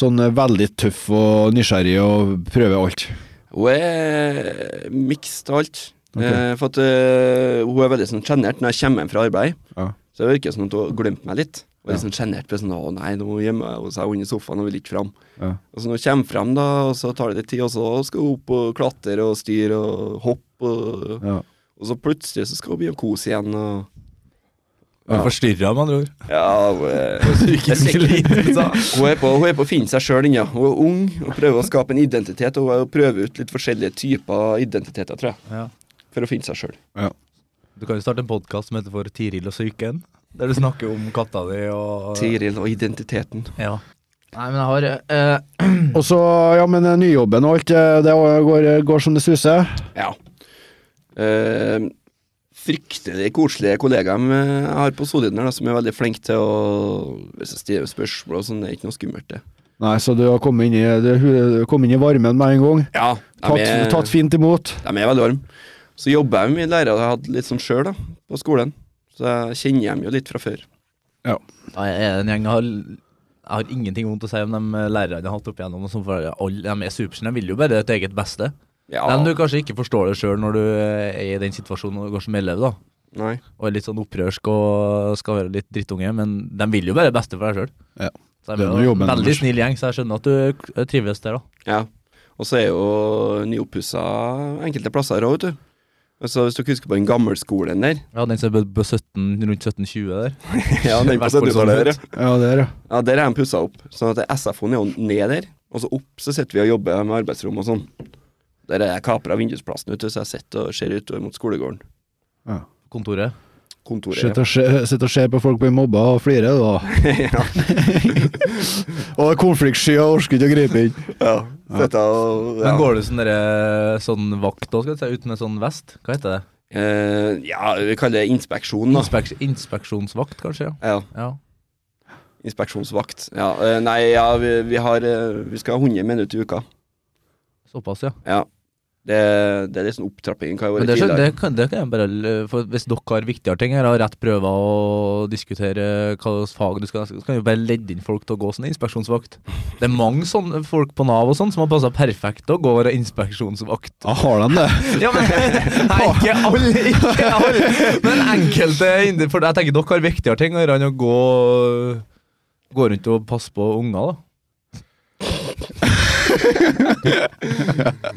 S2: Sånn eh, veldig tøff og nysgjerrig og prøver alt?
S3: Hun er mixed av alt.
S2: Ok.
S3: Eh, for at eh, hun er veldig sånn sjenert når jeg kommer hjem fra arbeid.
S2: Ja.
S3: Så det virker som at hun har glemt meg litt. Og er sånn sjenert. Sånn, 'Å nei, nå gjemmer hun seg under sofaen og vil ikke fram'.
S2: Ja.
S3: Og så når hun kommer fram, da, og så tar det litt tid, og så skal hun opp og klatre og styre og hoppe. Og,
S2: Ja.
S3: og så plutselig så skal hun begynne å kose igjen. Og,
S1: Ja. Forstyrra, med andre ord.
S3: ja, hun er, Jeg ser ikke litt, da. hun, er på, hun er på å finne seg sjøl ennå. Hun er ung og prøver å skape en identitet. Og hun prøver ut litt forskjellige typer identiteter, tror jeg,
S1: Ja.
S3: for å finne seg sjøl.
S1: Du kan jo starte en podkast som heter for Tiril og psyken, der du snakker om katta di og
S3: Tiril og identiteten.
S1: Ja. Nei, men jeg har eh,
S2: Og så, ja, men eh, nyjobben og alt, eh, det går, går som det suser?
S3: Ja. Eh, fryktelig koselige kollegaer med- jeg har på Solidner, da, som er veldig flinke til å Hvis jeg stiller spørsmål og sånn, det er ikke noe skummelt, det.
S2: Nei, så du har kommet inn i, du, du kom inn i varmen med en gang.
S3: Ja,
S2: Tatt, tatt fint imot.
S3: De er veldig varme. Så jobber jeg med mye lærere jeg hadde litt sånn sjøl, da, på skolen. Så jeg kjenner dem jo litt fra før.
S1: Nei, jeg er en gjeng jeg har, jeg har ingenting vondt å si om de lærerne jeg har hatt opp igjennom. og sånn, for alle, de er supersnille, de vil jo bare ditt eget beste.
S3: Ja,
S1: Men du kanskje ikke forstår det sjøl når du er i den situasjonen og går som elev, da.
S3: nei.
S1: Og er litt sånn opprørsk og skal være litt drittunge, men de vil jo bare det beste for deg sjøl.
S2: Ja.
S1: Så
S2: Det
S1: de
S2: er
S1: er
S2: jo
S1: jo
S2: jobben
S1: en veldig
S2: deres.
S1: snill gjeng, så jeg skjønner at du k- trives der, da.
S3: Ja. Og så er jo nyoppussa enkelte plasser òg, vet du. Altså, hvis dere husker på den gammelskolen der
S1: Ja, den som er på 17, rundt 1720 der.
S3: Ja, den på
S1: Hvert fall sånn
S3: 70-tallet der, ja.
S2: Ja, det er det.
S3: Ja, der er de pussa opp. Sånn at SFO-en er jo ned der, og så opp så sitter vi og jobber med arbeidsrom og sånn. Der er jeg kapra vindusplassen ute, så jeg sitter og ser utover mot skolegården.
S2: Ja.
S1: Kontoret.
S3: Kontoret.
S2: Sitt og se- sitt og se på folk bli mobba og flire, da.
S3: ja.
S2: Og konfliktsky og orker ikke å gripe inn.
S3: ja. Sitter og
S1: Men
S3: ja.
S1: går du sånn, derre- sånn vakt òg, skal du si, uten en sånn vest? Hva heter det?
S3: Eh, ja, vi kaller det inspeksjon, da.
S1: Inspeks inspeksjonsvakt, kanskje? ja.
S3: Ja,
S1: Ja.
S3: Inspeksjonsvakt. Ja, eh, nei, ja, vi, vi har eh, Vi skal ha 100 minutter i uka.
S1: Såpass, ja.
S3: Ja. Det, det er litt sånn opptrapping. Hva har
S1: Men
S3: vært
S1: det, skjønner,
S3: tidligere?
S1: det, kan, det kan jeg bare l- For Hvis dere har viktigere ting her, har rett prøver og diskutere hva slags fag du skal Så kan vi jo bare ledde inn folk til å gå sånn inspeksjonsvakt. Det er mange sånne folk på Nav og sånn som har passa perfekt til å gå og være inspeksjonsvakt.
S2: Ja, har de det?
S1: Ja, men Nei, ikke alle, ikke alle. Men enkelte indi- For jeg tenker dere har viktigere ting å gjøre enn å gå Gå rundt og passe på unger, da.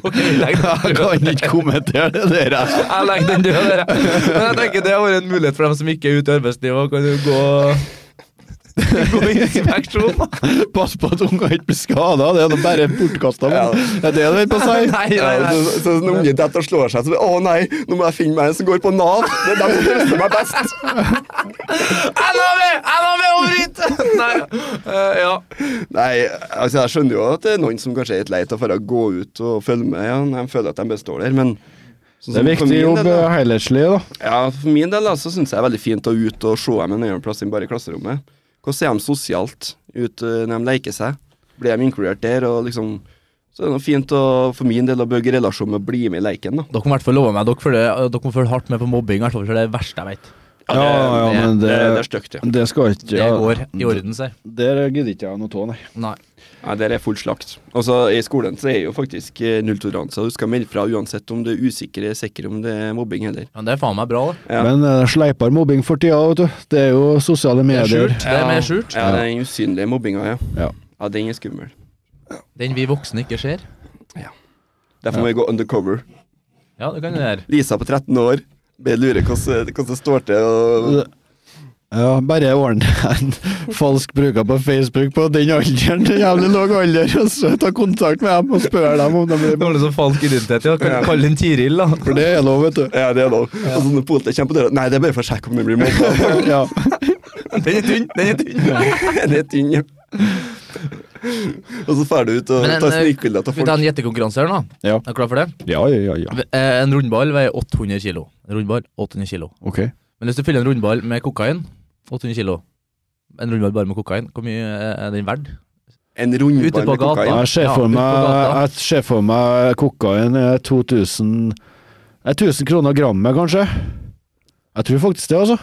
S1: OK, legg
S2: Jeg
S1: den
S2: kan ikke kommentere det der. jeg.
S1: jeg legger den død der. jeg. Men jeg tenker det har vært en mulighet for dem som ikke er ute i arbeidslivet. Kan jo gå Gå i inspeksjon. da.
S2: Pass på at ungene ikke blir skada, det er nå bare bortkasta.
S3: Ja.
S2: Det er det du holder på å si?
S1: Nei, nei,
S3: Ja,
S1: nei.
S3: så, så når ungen detter og slår seg, så blir det, 'Å nei, nå må jeg finne meg en som går på Nav'. Det er dem som trøster meg best.
S1: NAV! NAV over hit! Nei, eh, ja.
S3: Nei, altså jeg skjønner jo at det er noen som kanskje er litt lei av for å gå ut og følge med. Ja, når de føler at de består der, men
S2: Det er
S3: sånn som for
S2: viktig
S3: min
S2: jobb
S3: del, da-
S2: eh, helhetlig, da.
S3: Ja, for min del da, så syns jeg det er veldig fint å ut og se dem en annen plass enn bare i klasserommet. Hvordan er de sosialt ute når de leker seg? Blir de inkludert der? Og liksom, så er det noe fint å, for min del å bygge relasjon med å bli med i leken, da.
S1: Dere må i hvert fall love meg dere, følger, dere må følge hardt med på mobbing. i hvert fall, for Det er det verste jeg vet.
S2: Ja, ja, men
S3: det, det er
S2: det
S3: stygt, ja.
S2: Det skal ikke
S1: Det
S2: ja.
S1: går i orden, sier
S2: Der gidder ikke jeg noe av, nei.
S1: Nei.
S3: Nei, der er full slakt. Og så I skolen så er jo faktisk eh, nulltoleranse. Du skal melde fra uansett om du er usikker eller sikker om det er mobbing heller.
S1: Men det er faen meg bra, da.
S3: Ja.
S2: Men eh, sleipere mobbing for tida, vet du. Det er jo
S1: Det
S2: sosiale
S1: er
S2: medier.
S1: skjult. Det er mer skjult.
S3: Ja, den usynlige mobbinga, ja.
S2: Ja.
S3: ja. Den er skummel.
S1: Den vi voksne ikke ser.
S3: Derfor må vi gå undercover.
S1: Ja, det kan du gjøre.
S3: Lisa på 13 år. Jeg lurer hvordan, hvordan det står til. Og...
S2: Ja, bare ordne en falsk bruker på Facebook på den alderen, den jævlig lav alder, og så ta kontakt med dem og spørre dem om de blir
S1: Dårlig som liksom falsk identitet. Ja, kan du kalle den Tiril, da?
S2: For det er lov, vet du.
S3: Ja, det er lov. Og så når politiet kommer på døra Nei, det er bare for å sjekke om det blir mobba.
S2: Ja.
S1: Den er tynn! Den er tynn.
S3: det er tynn, ja. Og så drar du ut og
S1: Men en,
S3: tar
S1: eh,
S3: snikbilder av
S1: Vi tar
S3: folk.
S1: en gjettekonkurranse her nå.
S2: Ja.
S1: Er du klar for det?
S2: ja, ja, ja.
S1: Eh, En rundball veier 800 kilo. En rundball, 800 kilo.
S2: Ok.
S1: Men hvis du fyller en rundball med kokain, 800 kilo. En rundball bare med kokain, hvor mye eh, er den verd?
S3: En
S1: Ute på
S3: rundball med
S1: gata.
S3: kokain.
S2: Jeg ser
S1: Ja, ut
S2: for
S1: på
S2: meg,
S1: gata.
S2: jeg ser for meg kokain er 2000 eh, 1000 kroner grammet, kanskje? Jeg tror faktisk det, altså.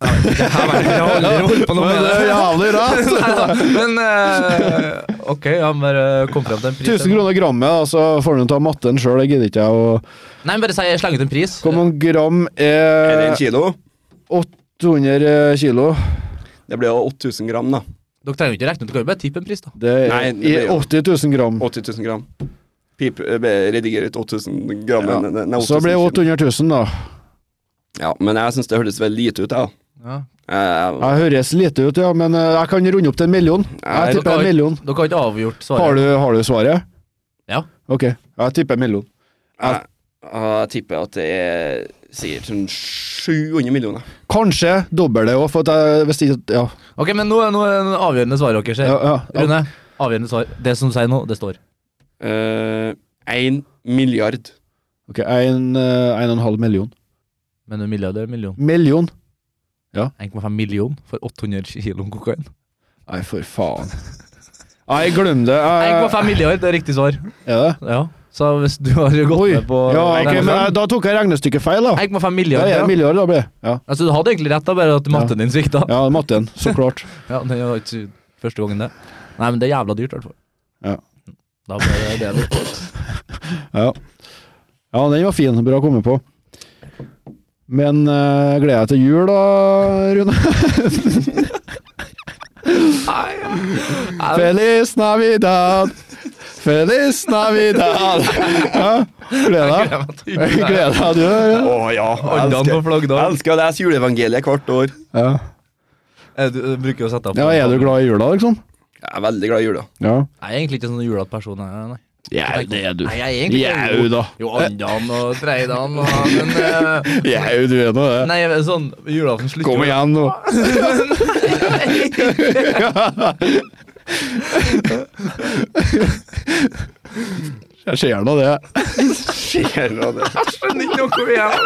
S1: Det her var- Jeg har aldri holdt på noe med det.
S2: jævlig rart!
S1: Neida, Men eh, ok, ja, men bare kom frem til en pris.
S2: 1000 kroner grammet, da, så får du ta matten sjøl. Det gidder ikke jeg å
S1: Nei, men bare si sleng ut en pris.
S2: Hvor mange gram
S3: Er det en
S2: er
S3: kilo?
S2: 800 kilo?
S3: Det blir jo 8000 gram, da.
S1: Dere trenger jo ikke regne ut, dere kan jo bare tippe en pris, da.
S2: Det
S3: Nei,
S2: er
S3: det
S2: i
S3: blir jo-
S2: 80 000 gram.
S3: 80 000 gram. Pip, eh, be- rediger ut 8000 gram.
S2: Ja.
S3: Nei, nei,
S2: Så
S3: 8000
S2: blir det 800 000, da.
S3: kilo. Ja, men jeg syns det høres veldig lite ut, jeg. da.
S1: Ja.
S3: Jeg- jeg-
S2: Jeg høres lite ut, ja, men eh, jeg kan runde opp til en million.
S3: Nei,
S2: Jeg tipper en million.
S1: Dere har ikke avgjort svaret.
S2: Har du, har du svaret?
S1: Ja.
S2: Ok, jeg tipper en million.
S3: jeg- Jeg ah, tipper at det er sikkert sånn 700 millioner.
S2: Kanskje dobler det òg, for at jeg hvis ikke Ja.
S1: Ok, men nå er nå er det avgjørende svaret deres her.
S2: ja, ja, ja.
S1: Rune, avgjørende svar. Det som sier nå, det står.
S3: Eh, Én milliard.
S2: Ok, en, eh, en og en halv million.
S1: Men en milliard er en million.
S2: Million?
S1: 1,5 million for 800 kilo kokain.
S2: Nei, for faen. Nei, glem det. Jeg,
S1: 1,5 milliard, det er riktig svar.
S2: er det?
S1: Ja. Så hvis du har gått
S2: Oi.
S1: med på
S2: Ja, ok, men eh,
S1: 1,5
S2: da tok jeg regnestykket feil, da.
S1: 1,5
S2: Det
S1: milliard,
S2: er
S1: ja.
S2: en milliard, da blir det. Ja.
S1: Altså, du hadde egentlig rett, da, bare at matten din svikta.
S2: ja, matten. Så klart.
S1: Ja, det var ikke første gangen, det. Nei, men det er jævla dyrt, i hvert fall.
S2: Ja.
S1: Da ble det det. da.
S2: Ja. ja, den var fin. Bra å komme på. Men eh, gleder jeg til jul, da, Rune? Feliz Navidad! Feliz Navidad! Ja, gleder deg. Gleder deg, du.
S3: Å
S2: Rune?
S3: ja! Jeg
S1: Ordene på
S3: elsker,
S1: flagg, da.
S3: jeg elsker å lese juleevangeliet hvert år.
S2: Ja.
S1: Eh, Du du bruker jo å sette opp
S2: ja, er du glad i jula, liksom?
S3: Jeg er veldig glad i jula.
S2: Ja.
S1: Jeg er egentlig ikke sånn julete person, jeg, nei.
S2: Jau, det er du.
S1: Nei, jeg er egentlig ikke
S2: Jau da.
S1: Jo, andan og treidan og Men eh,
S2: Jau, du er nå det.
S1: nei, sånn julaften slutter
S2: Kom igjen, nå. Jeg ser nå det.
S3: Skjer nå det.
S1: Skjønner ikke noe vi er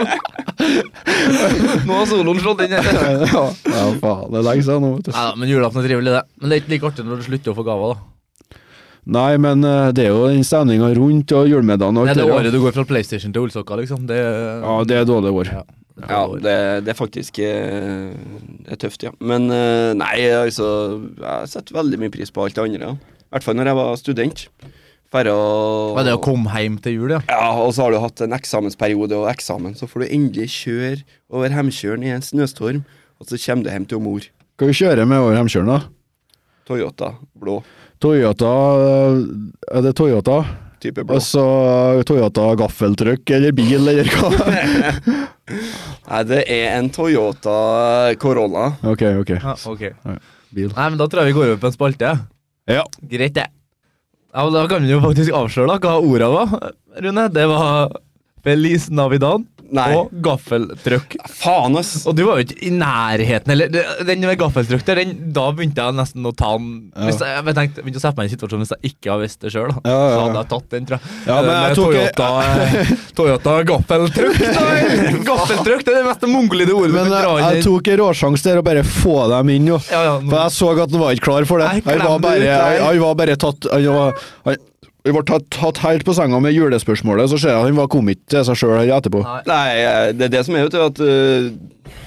S1: Nå har soloen slått inn her. Nei,
S2: Ja, faen. Det er lenge siden nå, vet du.
S1: da, men julaften er trivelig, det. Men det er ikke like artig når du slutter å få gaver, da.
S2: Nei, men eh, det er jo den stemninga rundt og julemiddagen og
S1: Det
S2: alt
S1: er det
S2: der, ja.
S1: året du går fra PlayStation til ullsokker, liksom. Det,
S2: Ja, det er dårlig år.
S1: Ja.
S3: Ja, det, det er faktisk eh, det er tøft, ja. Men eh, nei, altså Jeg setter veldig mye pris på alt det andre. ja. I hvert fall når jeg var student. Færre å
S1: Men det å komme hjem til jul, ja.
S3: Ja, og så har du hatt en eksamensperiode og eksamen, så får du endelig kjøre over Hemkjølen i en snøstorm, og så kommer du hjem til mor.
S2: Skal vi kjøre med over Hemkjølen, da?
S3: Toyota blå.
S2: Toyota eh, Er det Toyota?
S3: Type blå.
S2: Altså Toyota gaffeltruck eller bil, eller hva?
S3: Nei, det er en Toyota Corolla.
S2: Ok, ok.
S1: ja ok.
S2: Bil.
S1: Nei, men da tror jeg vi går over på en spalte. jeg.
S2: Ja.
S1: Greit, det. Ja, men Da kan vi jo faktisk avsløre da, hva orda var, Rune. Det var Feliz Navidad
S3: Nei,
S1: og gaffeltrøkk.
S2: Altså.
S3: faen, ass!
S1: Og du var jo ikke i nærheten heller. Det- Den med gaffeltrøkk der, den, da begynte jeg nesten å ta den
S2: Ja.
S1: hvis jeg, jeg tenkte, begynte å sette meg i en situasjon hvis jeg ikke hadde visst det sjøl. da.
S2: Ja, ja,
S1: Så
S2: ja.
S1: hadde jeg tatt den, tror jeg.
S2: Ja, men
S1: Den
S2: jeg
S1: med
S2: tok-
S1: Toyota, Toyota gaffeltrøkk, da! Gaffeltrøkk, det er det mest monglete ordet du
S2: Men
S1: kan
S2: jeg,
S1: dra inn i.
S2: jeg tok en råsjanse der og bare få dem inn, jo.
S1: Ja, ja, nå-
S2: For jeg så at han var ikke klar for det.
S1: Nei,
S2: Han var
S1: klem det
S2: bare,
S1: ut, nei.
S2: han var bare tatt Han var, han, han var tatt, tatt helt på senga med julespørsmålet, så ser jeg at han var kom ikke til seg sjøl her etterpå.
S1: Nei.
S3: Nei, eh, det er det som er, vet du, at eh,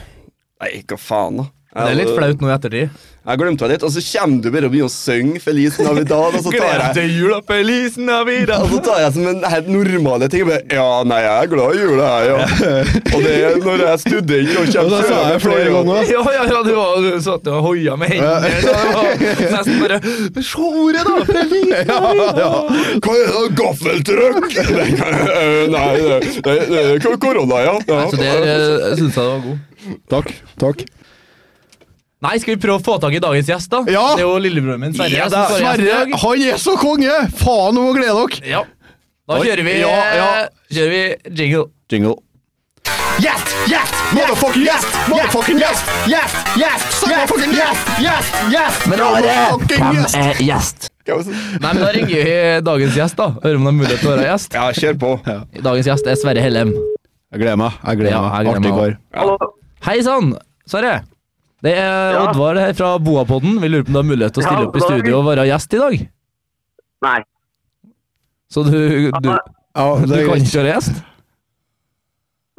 S3: Nei, hva faen, da.
S1: Det er litt flaut nå i ettertid.
S3: Jeg glemte det litt, og så kommer du bare og begynner å synge Feliz Navidad, og så
S1: Gleder
S3: tar jeg
S1: til jula, Feliz Navidad!
S3: og så tar jeg som en helt normale ting. Bare, ja, nei, jeg er glad i jula, jeg, ja. Og det er når jeg er student og
S2: Og
S3: kommer
S2: da sa jeg flere ganger.
S1: Ja, ja, ja, du var du satt og hoia med hendene. da. Det var Nesten bare Men se ordet, da! Feliz Navidad!
S3: Hva er det, gaffeltrøkk? Nei, det, det, det er korona, ja. ja.
S1: Så det syns jeg var god.
S2: Takk. takk
S1: Nei, skal vi prøve å få tak i dagens gjest, da?
S2: Ja!
S1: Det er jo lillebroren min, Sverre.
S3: Ja,
S1: som
S3: da,
S1: står gjest i
S2: Sverre,
S1: dag.
S2: han er så konge! Faen, nå må glede dere!
S1: Ja. Da kjører vi,
S2: Ja, ja.
S1: kjører vi jingle.
S2: Jingle. Yes! Yes! Motherfucking yes! Motherfucking yes! Yes! Yes! Motherfucking yes! Yes! Yes! Motherfucking yes!
S1: er gjest?
S3: Ja,
S1: Nei, men Da ringer vi dagens gjest, da. Hører om det er mulighet til å være gjest.
S3: kjør på.
S1: Dagens gjest er Sverre Hellem.
S2: Jeg gleder meg. Jeg gleder
S1: Ja,
S2: meg.
S1: jeg gleder
S2: Artig
S1: meg
S2: kar.
S4: Hallo.
S1: Hei sann, Sverre. Det er
S4: Ja.
S1: Oddvar her fra Boapodden. Vi lurer på om du har mulighet til å stille
S4: Ja,
S1: opp i
S4: god dag.
S1: studio og være gjest i dag?
S4: Nei.
S1: Så du, du,
S4: Nei.
S2: Ja,
S1: du
S2: det er
S1: kan
S2: greit.
S1: ikke være gjest?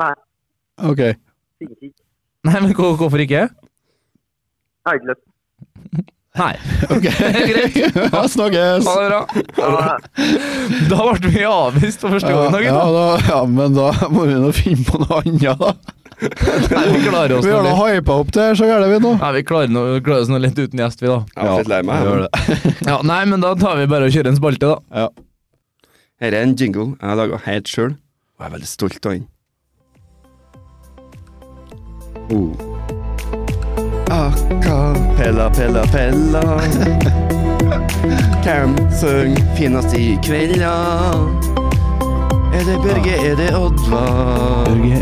S4: Nei.
S2: Ok.
S1: Nei, men hvor- hvorfor ikke?
S4: Heidløp.
S1: Nei.
S2: Ok.
S1: Greit.
S2: Ja, snakkes!
S1: Ha det bra. Da ble vi avvist for første gang i dag.
S2: ja,
S1: gutta.
S2: da, ja, men da må vi nå finne på noe annet, da.
S1: Nei, vi klarer oss
S2: Vi har
S1: nå
S2: da
S1: litt.
S2: hypa opp det, så gjør det vi nå.
S1: Nei, vi klarer, nå- vi klarer oss nå litt uten gjest, vi, da.
S3: Jeg er litt lei meg.
S2: vi gjør
S3: jeg.
S2: det.
S1: Ja, Nei, men da tar vi bare og kjører en spalte, da.
S2: Ja.
S3: Her er en jingle jeg har laga helt sjøl, og jeg er veldig stolt av den. Oh. Acapella, pella, pella. Hvem synger finest i kvelda? Er det Børge, er det Oddvar?
S2: Børge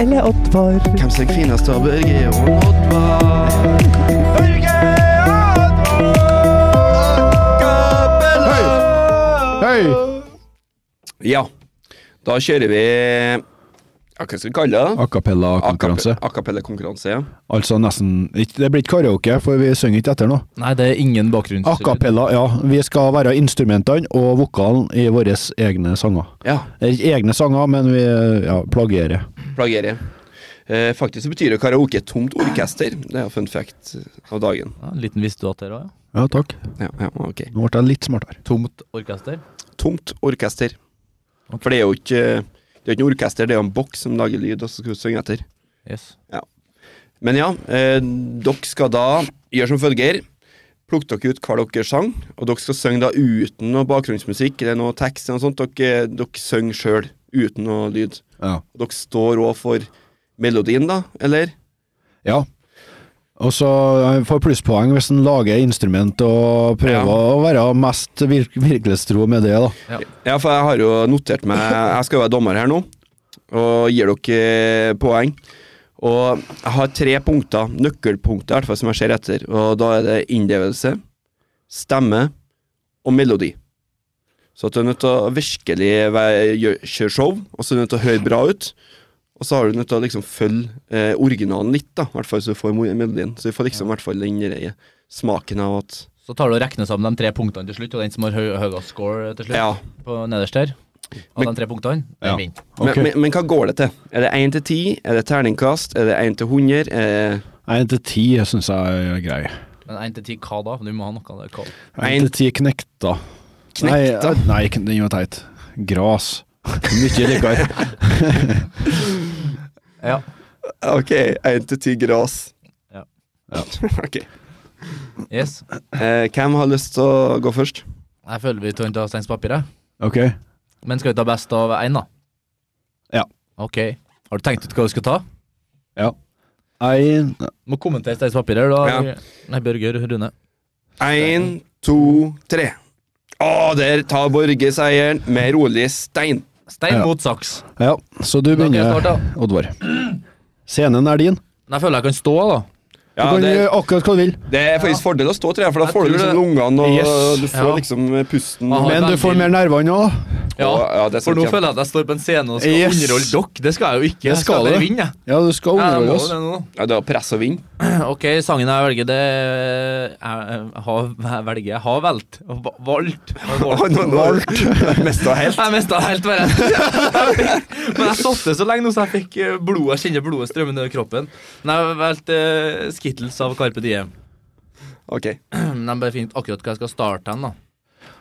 S2: eller Ottva?
S3: Hvem synger finest av Børge og Oddvar? Børge Oddvar!
S2: Hei!
S3: Ja, da kjører vi ja, Hva skal vi kalle det? da?
S2: Acapella-konkurranse.
S3: Acapella-konkurranse, ja.
S2: Altså nesten ikke- Det blir ikke karaoke, for vi synger ikke etter noe.
S1: Nei, det er ingen bakgrunn.
S2: Acapella, ja. Vi skal være instrumentene og vokalen i våre egne sanger.
S3: ja
S2: Eh, Ikke egne sanger, men vi ja, plagierer.
S3: Plagerer. Eh, faktisk så betyr det karaoke tomt orkester. Det er jo fun fact eh, av dagen.
S1: Ja, en liten visste du at det var, ja.
S2: Ja, takk.
S3: Ja, ja, ok.
S2: Nå ble jeg litt smartere.
S1: Tomt orkester.
S3: Tomt orkester. For det er jo ikke Det er jo ikke noe orkester, det er jo en boks som lager lyd, og så skal du synge etter.
S1: Yes.
S3: Men ja, eh, dere skal da gjøre som følger. Plukk dere ut hva dere sang, og dere skal synge da uten noe bakgrunnsmusikk eller noe tekst. eller noe sånt. Dere, dere synger sjøl, uten noe lyd.
S2: Ja.
S3: Og dere står òg for melodien, da, eller?
S2: ja. Og så eh, får plusspoeng hvis en lager instrument og prøver
S3: Ja.
S2: å være mest virk virkelighetstro med det, da.
S3: Ja, for jeg har jo notert meg Jeg skal jo være dommer her nå, og gir dere eh, poeng. Og jeg har tre punkter, nøkkelpunkter, i hvert fall som jeg ser etter. Og da er det innlevelse, stemme og melodi. Så at du er nødt til å virkelig være- gjø- kjøre show, og så er du nødt til å høre bra ut. Og så har du nødt til å liksom følge eh, originalen litt, da, i hvert fall så du får mo- melodien. Så du får liksom i hvert fall den der smaken av at
S1: Så tar du og regner sammen de tre punktene til slutt, og den som har høy, høyest score til slutt,
S3: Ja.
S1: på nederst her, av
S3: Men-
S1: de tre punktene,
S2: Ja.
S1: den vinner.
S2: Ok.
S3: Men, men, men hva går det til? Er det 1 til 10? Er det terningkast? Er det 1 til Eh, 100? Er
S2: Én til ti syns jeg er grei.
S1: Men én til ti, hva da? Du må ha noe der. Hva?
S2: Én
S3: En-
S2: til ti knekta. Nei,
S3: Knekta?
S2: nei, kn- den var teit. Gras. Mye likere.
S1: Ja.
S3: Ok, 1 til 10 gras.
S1: Ja.
S3: ok.
S1: Yes.
S3: Eh, hvem har lyst til å gå først?
S1: Jeg føler vi tar en av steinspapiret.
S2: Ok.
S1: Men skal vi ta best av én, da?
S2: Ja.
S1: Ok. Har du tenkt ut hva du skal ta?
S2: Ja. Én
S1: Må kommentere steinspapiret, da.
S3: Ja.
S1: Nei, Børger Rune.
S3: 1, 2, 3. Å, der tar Borge seieren med rolig stein.
S1: Stein
S2: Ja.
S1: mot saks.
S2: Ja, så du
S1: Da kan jeg
S2: begynner,
S1: starte.
S2: Oddvar. Scenen er din.
S1: Nei, jeg føler jeg kan stå, da.
S2: Du
S3: Ja,
S2: kan
S3: det,
S2: gjøre akkurat hva du vil,
S3: det er faktisk fordel å stå, tror jeg, for da
S1: Jeg
S3: får du
S1: tror
S3: liksom
S1: det.
S3: lungene og
S2: Yes.
S3: du får
S1: Ja.
S3: liksom pusten.
S1: Aha.
S3: og-
S2: men du får mer nerver nå.
S1: Ja.
S3: ja, det er sånn
S1: For nå
S3: sant, ja.
S1: føler jeg at jeg står på en scene og skal
S2: Yes.
S1: underholde dere. Det skal jeg jo ikke.
S2: Det
S1: Jeg skal
S2: skal
S1: bare
S2: du.
S1: vinne, jeg.
S2: Ja, du skal
S1: Ja, jeg
S2: overholde
S1: må
S2: oss.
S1: det nå.
S3: Ja, det er press og vind.
S1: Ok, sangen jeg velger, det er- Jeg har jeg velger Jeg har velt. Va- Valgt. Valgt.
S3: Mest av helt.
S1: Jeg mista helt bare. Jeg fikk- Men jeg satt det så lenge nå, så jeg fikk eh, blodet, jeg kjenner blodet strømme nedover kroppen. Men jeg valgte eh, Skittles av Carpe Diem.
S3: Ok.
S1: De bare finner ut akkurat hva jeg skal starte hen, da.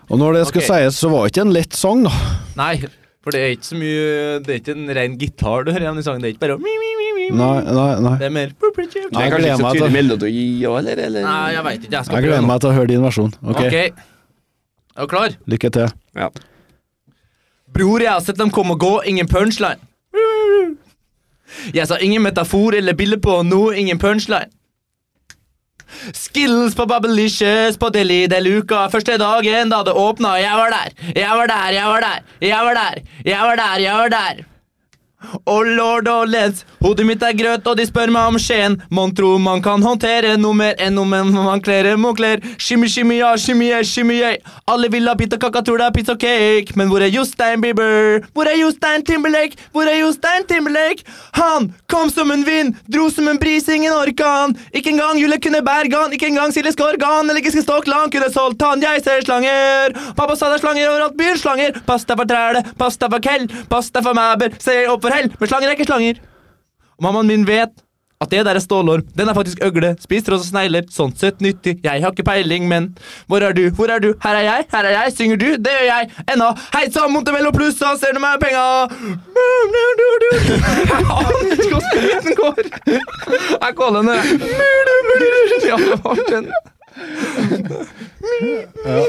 S2: Og når det skal
S1: Ok.
S2: sies, så var det ikke en lett sang, da.
S1: Nei, for det er ikke så mye Det er ikke en ren gitar du hører igjen i sangen. Det er ikke bare mi, mi, mi, mi.
S2: Nei, nei,
S1: Det
S2: nei.
S1: er mer
S3: Det
S2: Nei,
S3: er
S2: jeg
S3: kanskje
S2: gleder meg
S3: ikke så
S2: til-
S3: liksom tydelig melodi òg, eller? eller?
S1: Nei, jeg veit ikke. Jeg skal
S2: Jeg gleder meg til å høre din versjon. Ok,
S1: Ok. Er du klar?
S2: lykke til.
S3: Ja.
S1: Bror, jeg har sett dem komme og gå, ingen punchline. Jeg sa ingen metafor eller bilde på noe, ingen punchline. Skills på Babelicious på Deli de Luca. Første dagen da det åpna, jeg var der, jeg var der, jeg var der, jeg var der, jeg var der, jeg var der. Og lord og leds, hodet mitt er grøt, og de spør meg om Skien. Mon tro man kan håndtere noe mer enn noe men man kler mokler. Shimmy, shimmy, ja, shimmy, yeah, shimmy, yeah. Alle vil ha pita kaka, tror det er pizza cake. Men hvor er Jostein Bieber? Hvor er Jostein Timberlake? Hvor er Jostein Timberlake? Han kom som en vind, dro som en bris, ingen orka han. Ikke engang Julie kunne berge han, ikke engang Silje Skorgan eller Giske Stokland kunne solgt han. Jeg ser slanger, pappa sa det er slanger overalt, byens slanger. Pass deg for træle, pass deg for kell, pass deg for mæber, se opp for hell, men slanger er ikke slanger. Mammaen min vet at det der er stålorm. Den er faktisk øgle. Spiser også snegler. Sånn sett nyttig. Jeg har ikke peiling, men Hvor er du? Hvor er du? Her er jeg. Her er jeg. Synger du? Det gjør jeg. Ennå. Hei sann, Montemello pluss, da ser du meg penga. Jeg aner ikke hvordan lyden går. Jeg kaller henne Ja,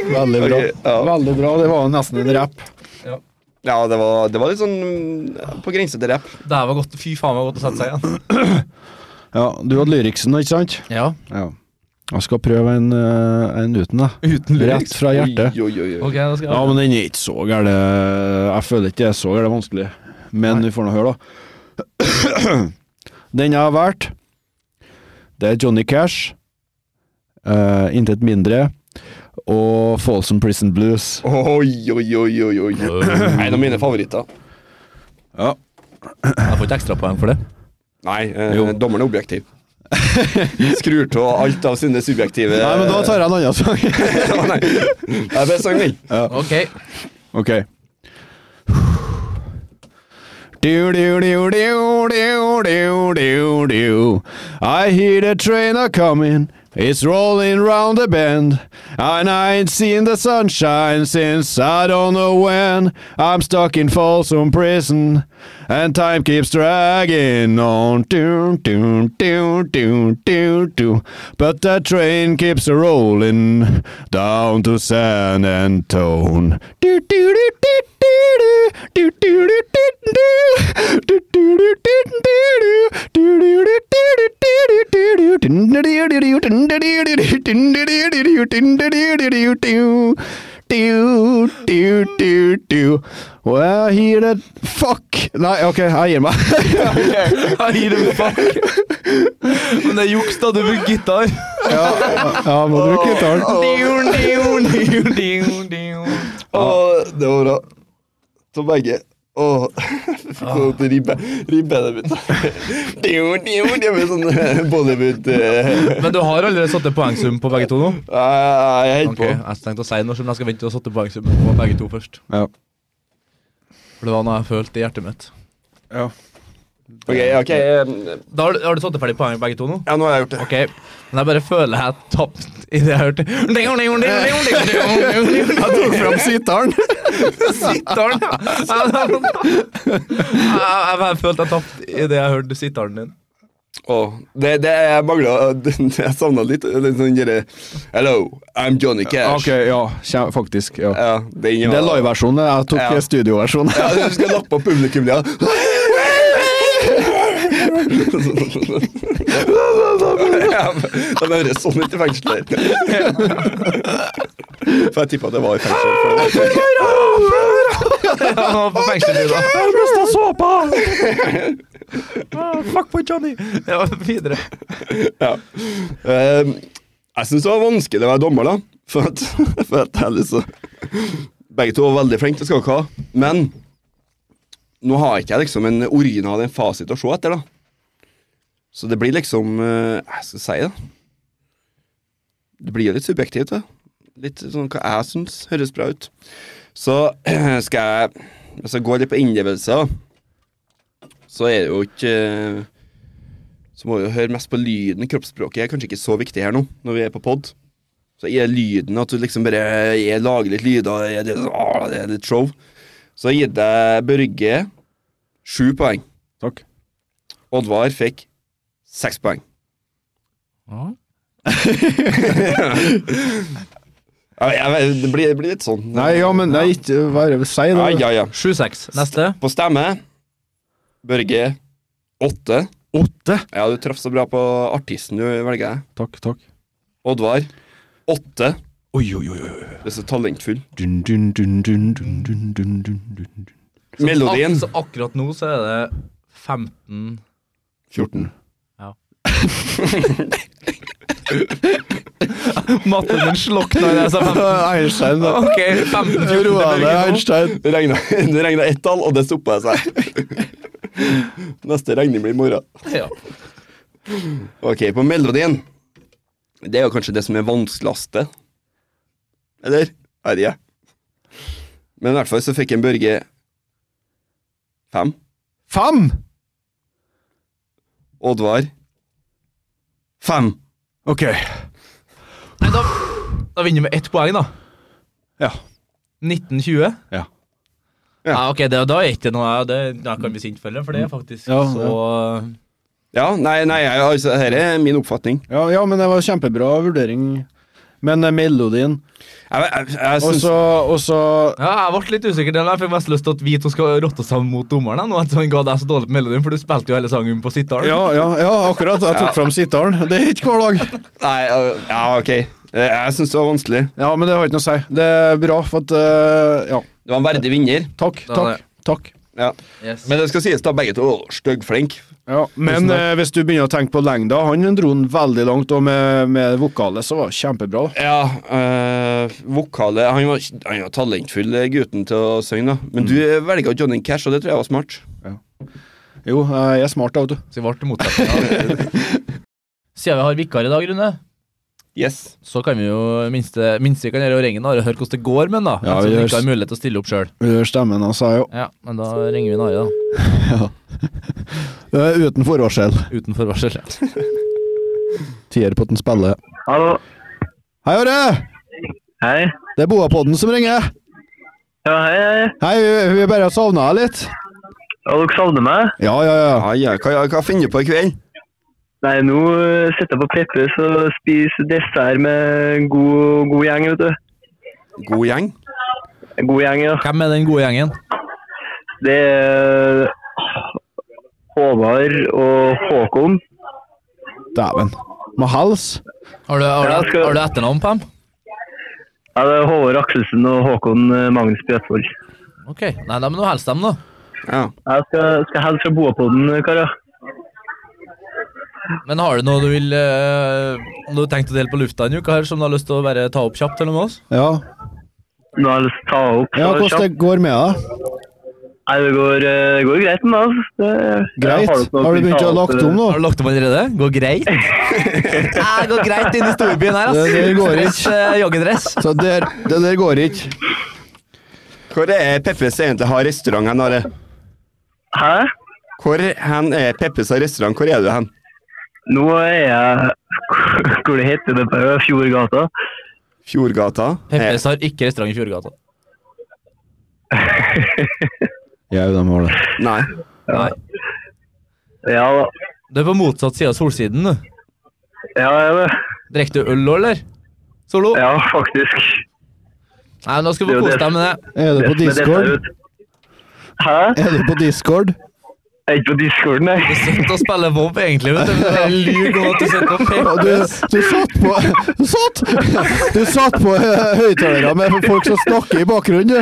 S1: det var den.
S2: Ja, veldig bra.
S3: Ok, ja.
S2: Veldig bra, Det var jo nesten en rapp.
S3: Ja, det var, det var litt sånn mm, på grense til rapp.
S1: Det her var godt. Fy faen, det var godt å sette seg igjen.
S2: Ja, du hadde lyriksen, ikke sant?
S1: Ja.
S2: Ja. Jeg skal prøve en, eh, en uten, da.
S1: Uten
S2: Rett fra hjertet.
S3: Oi, oi, oi, oi.
S1: Ok, da skal jeg
S2: Ja, men den er ikke så gæren. Jeg føler ikke det er så gæren vanskelig. Men vi får nå høre, da. den jeg har valgt, det er Johnny Cash. eh, Intet mindre. Og Folsom Prison Blues.
S3: Oi, oi, oi, oi, oi. En av mine favoritter.
S2: Ja.
S5: Jeg får ikke ekstrapoeng for det.
S3: Nei, eh, dommeren er objektiv. Skrur av alt av sine subjektive
S2: Nei, men da tar jeg en annen sang.
S3: Å, nei. Det er best sangen min.
S1: Ok.
S2: ok. Do, do, do, do, do, do, do, do. I hear the train a coming. It's rolling round the bend. And I ain't seen the sunshine since I don't know when. I'm stuck in Folsom Prison. And time keeps dragging on. Do, do, do, do, do, do. But the train keeps a rolling down to San Antone. Do, do, do, do, do, do. Do, do, do, do, do. Well, I hear that Fuck! Nei, OK, jeg gir meg.
S1: Jeg gir dem faen. Men det er juks, da. Du bruker gitar.
S2: ja, ja, må bruke gitaren.
S1: Dion, dion, dion, dion, dion.
S3: Å, det var bra. Som begge. Åh, jeg fikk noe
S2: Ah.
S3: til ribbe, ribbeina mine. Dio, dio, dio, med sånn eh, Bollywood eh.
S1: Men du har allerede satt en poengsum på begge to nå?
S3: Nei, Jeg holder
S5: Ok, Jeg tenkte å si noe, men jeg skal vente til å sette poengsum på begge to først.
S2: Ja.
S5: For det var noe jeg følte i hjertet mitt.
S3: på. Ok, ok. eh,
S1: Da har, du- har du satt ferdig poeng begge to nå?
S3: Ja, nå har jeg gjort det.
S1: Ok, Men jeg bare føler jeg tapte i det jeg hørte. Dion, dion, dion, dion, dion, dion, dion, dion.
S2: Jeg tok fram sitaren.
S1: Sittaren, ja. Jeg, jeg, jeg bare følte jeg tapte i det jeg hørte sittaren din.
S3: Åh, det, det jeg manglet, det- jeg savnet litt den sånn derre Hello, I'm Johnny Cash.
S2: OK, ja. kjem- Faktisk. ja.
S3: Ja, den, ja.
S2: Det er liveversjonen. Jeg tok
S3: Ja.
S2: eh, studioversjonen.
S3: Ja, du skal lappe på publikum, ja. ja men de høres sånn ut i fengselet. For jeg tippa det var i fengsel. for det var-
S1: Ja, nå på fengselet, da. Jeg har mista såpa! Ah, Fuck boy Johnny. Ja, videre.
S3: Ja. Ehm, jeg syns det var vanskelig å være dommer, da. For at, for at jeg liksom Begge to var veldig flinke, det skal dere ha. Men nå har ikke jeg liksom en original en fasit å se etter, da. Så det blir liksom eh, Jeg skal si det. Det blir jo litt subjektivt, det. Litt sånn hva jeg syns høres bra ut. Så skal jeg Hvis jeg går litt på innlevelser, så er det jo ikke eh, så må vi jo høre mest på lyden. Kroppsspråket er kanskje ikke så viktig her nå, når vi er på pod. Så er lyden at du liksom bare er, lager litt lyder, er det, ah, det er litt show. Så jeg har gitt deg Børge sju poeng.
S2: Takk.
S3: Oddvar fikk seks poeng. Ja, jeg vet, det, blir, det blir litt sånn.
S2: Nei, ja, men nei, ikke hva er det vi sier
S3: ja,
S2: da?
S3: ja, ja.
S1: 7-6. Neste.
S3: På stemme Børge åtte.
S2: Åtte.
S3: Ja, du traff så bra på artisten du velger.
S2: Takk, takk.
S3: Oddvar åtte.
S2: Oi, oi, oi, oi.
S3: Du er så talentfull.
S2: Dun, dun, dun, dun, dun, dun, dun, dun, dun.
S3: Melodien
S1: Så akkurat nå så er det 15
S2: 14.
S1: Matten min slokna i det jeg sa 15.
S2: Einstein, da.
S1: Ok, 15
S2: Ro deg,
S1: Børge nå.
S2: Einstein.
S3: Det regna, det regna ett tall, og det stoppa seg. Neste regning blir i morgen.
S1: Ja.
S3: Ok, på melodien. Det er jo kanskje det som er vanskeligste. Eller? Er det jeg? Men i hvert fall så fikk en Børge fem.
S2: Fem!
S3: Oddvar. Fem.
S2: Ok.
S1: Nei, da, da vinner vi med ett poeng, da.
S2: Ja.
S1: 1920?
S2: Ja.
S3: Ja.
S1: Ja, ok, det, da er ikke noe det, Da kan vi sint følge, for det er faktisk
S2: Ja,
S1: så
S3: Ja, nei, nei, jeg- altså, dette er min oppfatning.
S2: Ja, ja, men det var kjempebra vurdering. Men eh, melodien
S3: Jeg, jeg, jeg
S2: Og
S3: synes-
S2: så og så-
S1: Ja, Jeg ble litt usikker. den der, Jeg fikk mest lyst til at vi to skal rotte sammen mot dommeren. da, Nå etter han ga deg så dårlig på melodien, for du spilte jo hele sangen på sitar.
S2: ja, ja, ja, akkurat. Jeg tok fram sitaren. Det er ikke hver dag.
S3: Nei, øh, ja, ok. Eh, Jeg syns det var vanskelig.
S2: Ja, men det har ikke noe å si. Det er bra, for at eh, Ja.
S3: Det var en verdig vinner.
S2: Takk,
S1: Da er
S2: takk.
S1: det.
S2: takk.
S3: Ja.
S1: Yes.
S3: Men det skal sies, da, begge to styggflink.
S2: Ja, men
S1: Tusen takk.
S2: eh, hvis du begynner å tenke på lengda Han dro den veldig langt, og med, med vokalet så var det kjempebra. da.
S3: Ja, øh, vokalet Han var, han var talentfull, eh, gutten, til å synge, da. Men du eh, velger Johnny Cash, og det tror jeg var smart.
S2: Jo, eh, jeg er smart, da, vet du.
S1: Så vi ble til motsetning. Siden vi har vikar i dag, Rune,
S3: Yes.
S1: så kan vi jo minste, minste vi kan gjøre å ringe Nare og høre hvordan det går med den. da.
S2: Ja,
S1: Ettersom
S2: vi
S1: vi
S2: gjør
S1: ikke
S2: s-
S1: har mulighet til å stille opp sjøl.
S2: Hør stemmen hans, sa jeg jo.
S1: Ja, men da ringer vi Nare, da.
S2: Eh, Uten forvarsel.
S1: Uten forvarsel.
S2: Tier på at den spiller.
S4: Hallo.
S2: Hei, Are!
S4: Hei.
S2: Det er Boapodden som ringer.
S4: Ja, hei, hei.
S2: Hei, vi- vi bare savna deg litt.
S4: Ja, dere savner meg?
S2: Ja, ja, ja.
S3: Ja, ja. Hva, hva finner du på i kveld?
S4: Nei, nå eh, sitter jeg på Peppes og spiser dessert med en god, god gjeng, vet du.
S3: God gjeng.
S4: En god gjeng, ja.
S1: Hvem er den gode gjengen?
S4: Det er eh, Håvard og Håkon.
S2: Dæven. Må helse.
S1: Har du, har,
S4: Ja,
S1: du,
S4: skal-
S1: har du etternavn på dem?
S4: Ja, det er Håvard Akselsen og Håkon eh, Magnus Bjøtvold.
S1: Ok. Nei, da må du hilse dem, da.
S3: Ja.
S4: Jeg skal, skal helse fra Boapodden, eh, karer.
S1: Men har du noe du vil eh, Om du har tenkt å dele på lufta en uke her, som du har lyst til å bare ta opp kjapt eller noe med oss?
S2: Ja.
S4: Nå har jeg lyst til å ta opp.
S2: ja,
S4: så
S2: hvordan
S4: kjapt.
S2: det går med deg?
S4: Nei, det går, eh, det går greit med meg, altså. Det-
S2: Greit?
S4: Jeg dere noe
S2: Har du begynt
S4: ta
S2: å
S4: opp,
S2: lagt om
S4: eh,
S2: nå?
S1: Har du lagt om allerede? Går greit? Ja, det går greit inne i storbyen her, ass.
S2: Det- det går ikke.
S1: Stress, eh, joggedress.
S2: Så der, det der går ikke.
S3: Hvor er Peppes egentlig har restaurant hen, Are?
S4: Hæ?
S3: Hvor hen er Peppes har restaurant? Hvor er du hen?
S4: Nå er jeg Hvor det heter det på Fjordgata?
S3: Fjordgata? Eh,
S1: Peppes har ikke restaurant i Fjordgata.
S2: Jau, de har det.
S3: Eh, Nei.
S1: Nei.
S4: Ja da.
S1: Du er på motsatt side av solsiden, du.
S4: Ja, ja, det.
S1: Drikker du øl òg, eller? Solo?
S4: ja faktisk.
S1: Nei, men da skal du
S4: Det er
S1: få
S4: jo
S1: kose
S4: det.
S1: deg med det.
S2: Er du på
S4: Men dette er jo
S2: discord?
S4: et- Hæ?
S2: Er du på discord?
S4: Jeg er ikke på discorden, nei.
S1: Du sitter og spiller Bob, egentlig. vet du. Det er bare lur nå at du sitter og
S2: Ja,
S1: pepper.
S2: du, du satt på Du satt, du satt på eh, høyttalere med folk som snakker i bakgrunnen, du.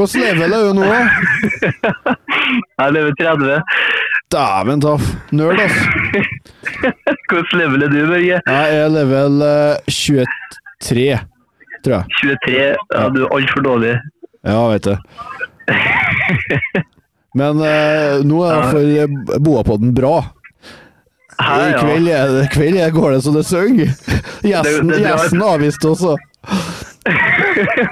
S2: Hvordan level er du nå, da?
S4: Jeg lever 30.
S2: Dæven taff. Nerd, ass.
S4: Hvordan level er du, Børge?
S2: Jeg er level eh, 23, tror jeg.
S4: 23. Ja, du er altfor dårlig.
S2: Ja, veit det. Men eh, nå er det for eh, Boapodden bra.
S4: Hæ,
S2: I
S4: ja.
S2: kveld, er det, kveld er, går det så det synger. Gjesten,
S4: Det- det- det-
S2: gjesten avviste også.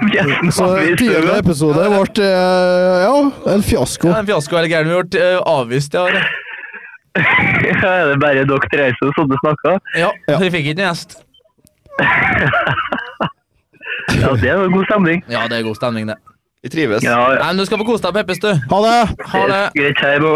S4: Gjesten
S2: Så
S4: var visst,
S2: tiende
S4: det.
S2: episode ble eh, ja, en
S1: Det
S2: fiasko.
S1: er en fiasko eller gæren vi har gjort. eh, Avvist, ja. Are.
S4: Ja, er det bare dere tre som sånne snakker?
S1: Ja,
S2: Ja.
S1: vi fikk ikke noen gjest.
S4: Ja, det er jo god stemning.
S1: Ja, det er god stemning, det.
S3: Vi trives.
S4: Ja, ja.
S1: Nei, men Du skal få kose deg, Peppes, du.
S2: Ha det!
S1: Ha det.
S4: Greit, hei, Bo.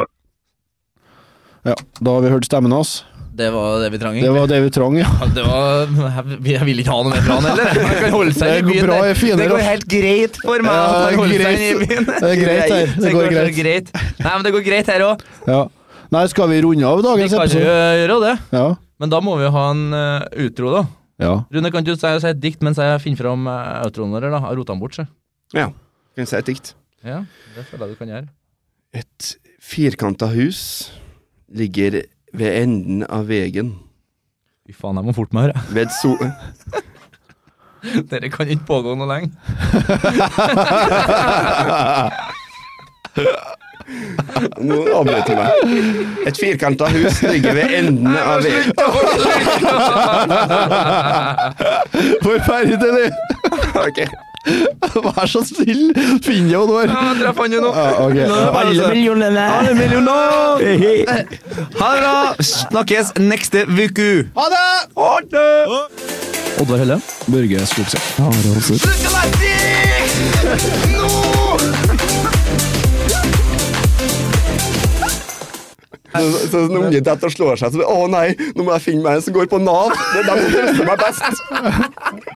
S2: Ja, da har vi hørt stemmen hans.
S1: Det var det vi trang.
S2: Det
S1: egentlig.
S2: var det vi trang, ja.
S1: Ja, Det var, jeg, jeg vil ikke ha noe mer fra han heller. jeg. Han kan holde seg
S2: Det
S1: i
S2: går
S1: byen.
S2: bra, jeg er finere,
S1: det går
S2: ass.
S1: helt greit for meg. at han
S2: Ja,
S1: holder seg i
S2: greit.
S1: byen.
S2: Det er greit her. Det går
S1: så
S2: greit.
S1: Nei, men det går greit her òg.
S2: ja. Nei, skal vi runde av
S1: Vi
S2: dagens
S1: kan jo
S2: episode?
S1: gjøre det.
S2: Ja.
S1: Men da må vi jo ha en eh, utro, da.
S2: ja.
S1: Rune, kan du si, si et dikt mens jeg finner fram uh, outroen vår? da? Jeg har rotet den bort, så.
S3: Ja. Kan jeg si et dikt?
S1: Ja, det føler jeg du kan gjøre.
S3: Et firkanta hus ligger ved enden av veien.
S1: Fy faen, jeg må forte meg her.
S3: Ved so...
S1: Dette kan ikke pågå noe lenge.
S3: Nå avbrøt du meg. Et firkanta hus ligger ved enden av veien.
S2: Forferdelig!
S3: Ok.
S2: Vær så snill, finn det og når.
S3: Jeg traff han jo nå.
S2: Ja, ok.
S6: Alle millionene.
S3: altså- Alle millioner! Ha det bra! Snakkes neste uke!
S2: Ha det!
S3: Ha det!
S1: Oddvar Helle.
S2: Børge Skogsø.
S3: Så, så en unge detter og slår seg, så Å nei, nå må jeg finne meg en som går på Nav! Det er dem som trøster meg best!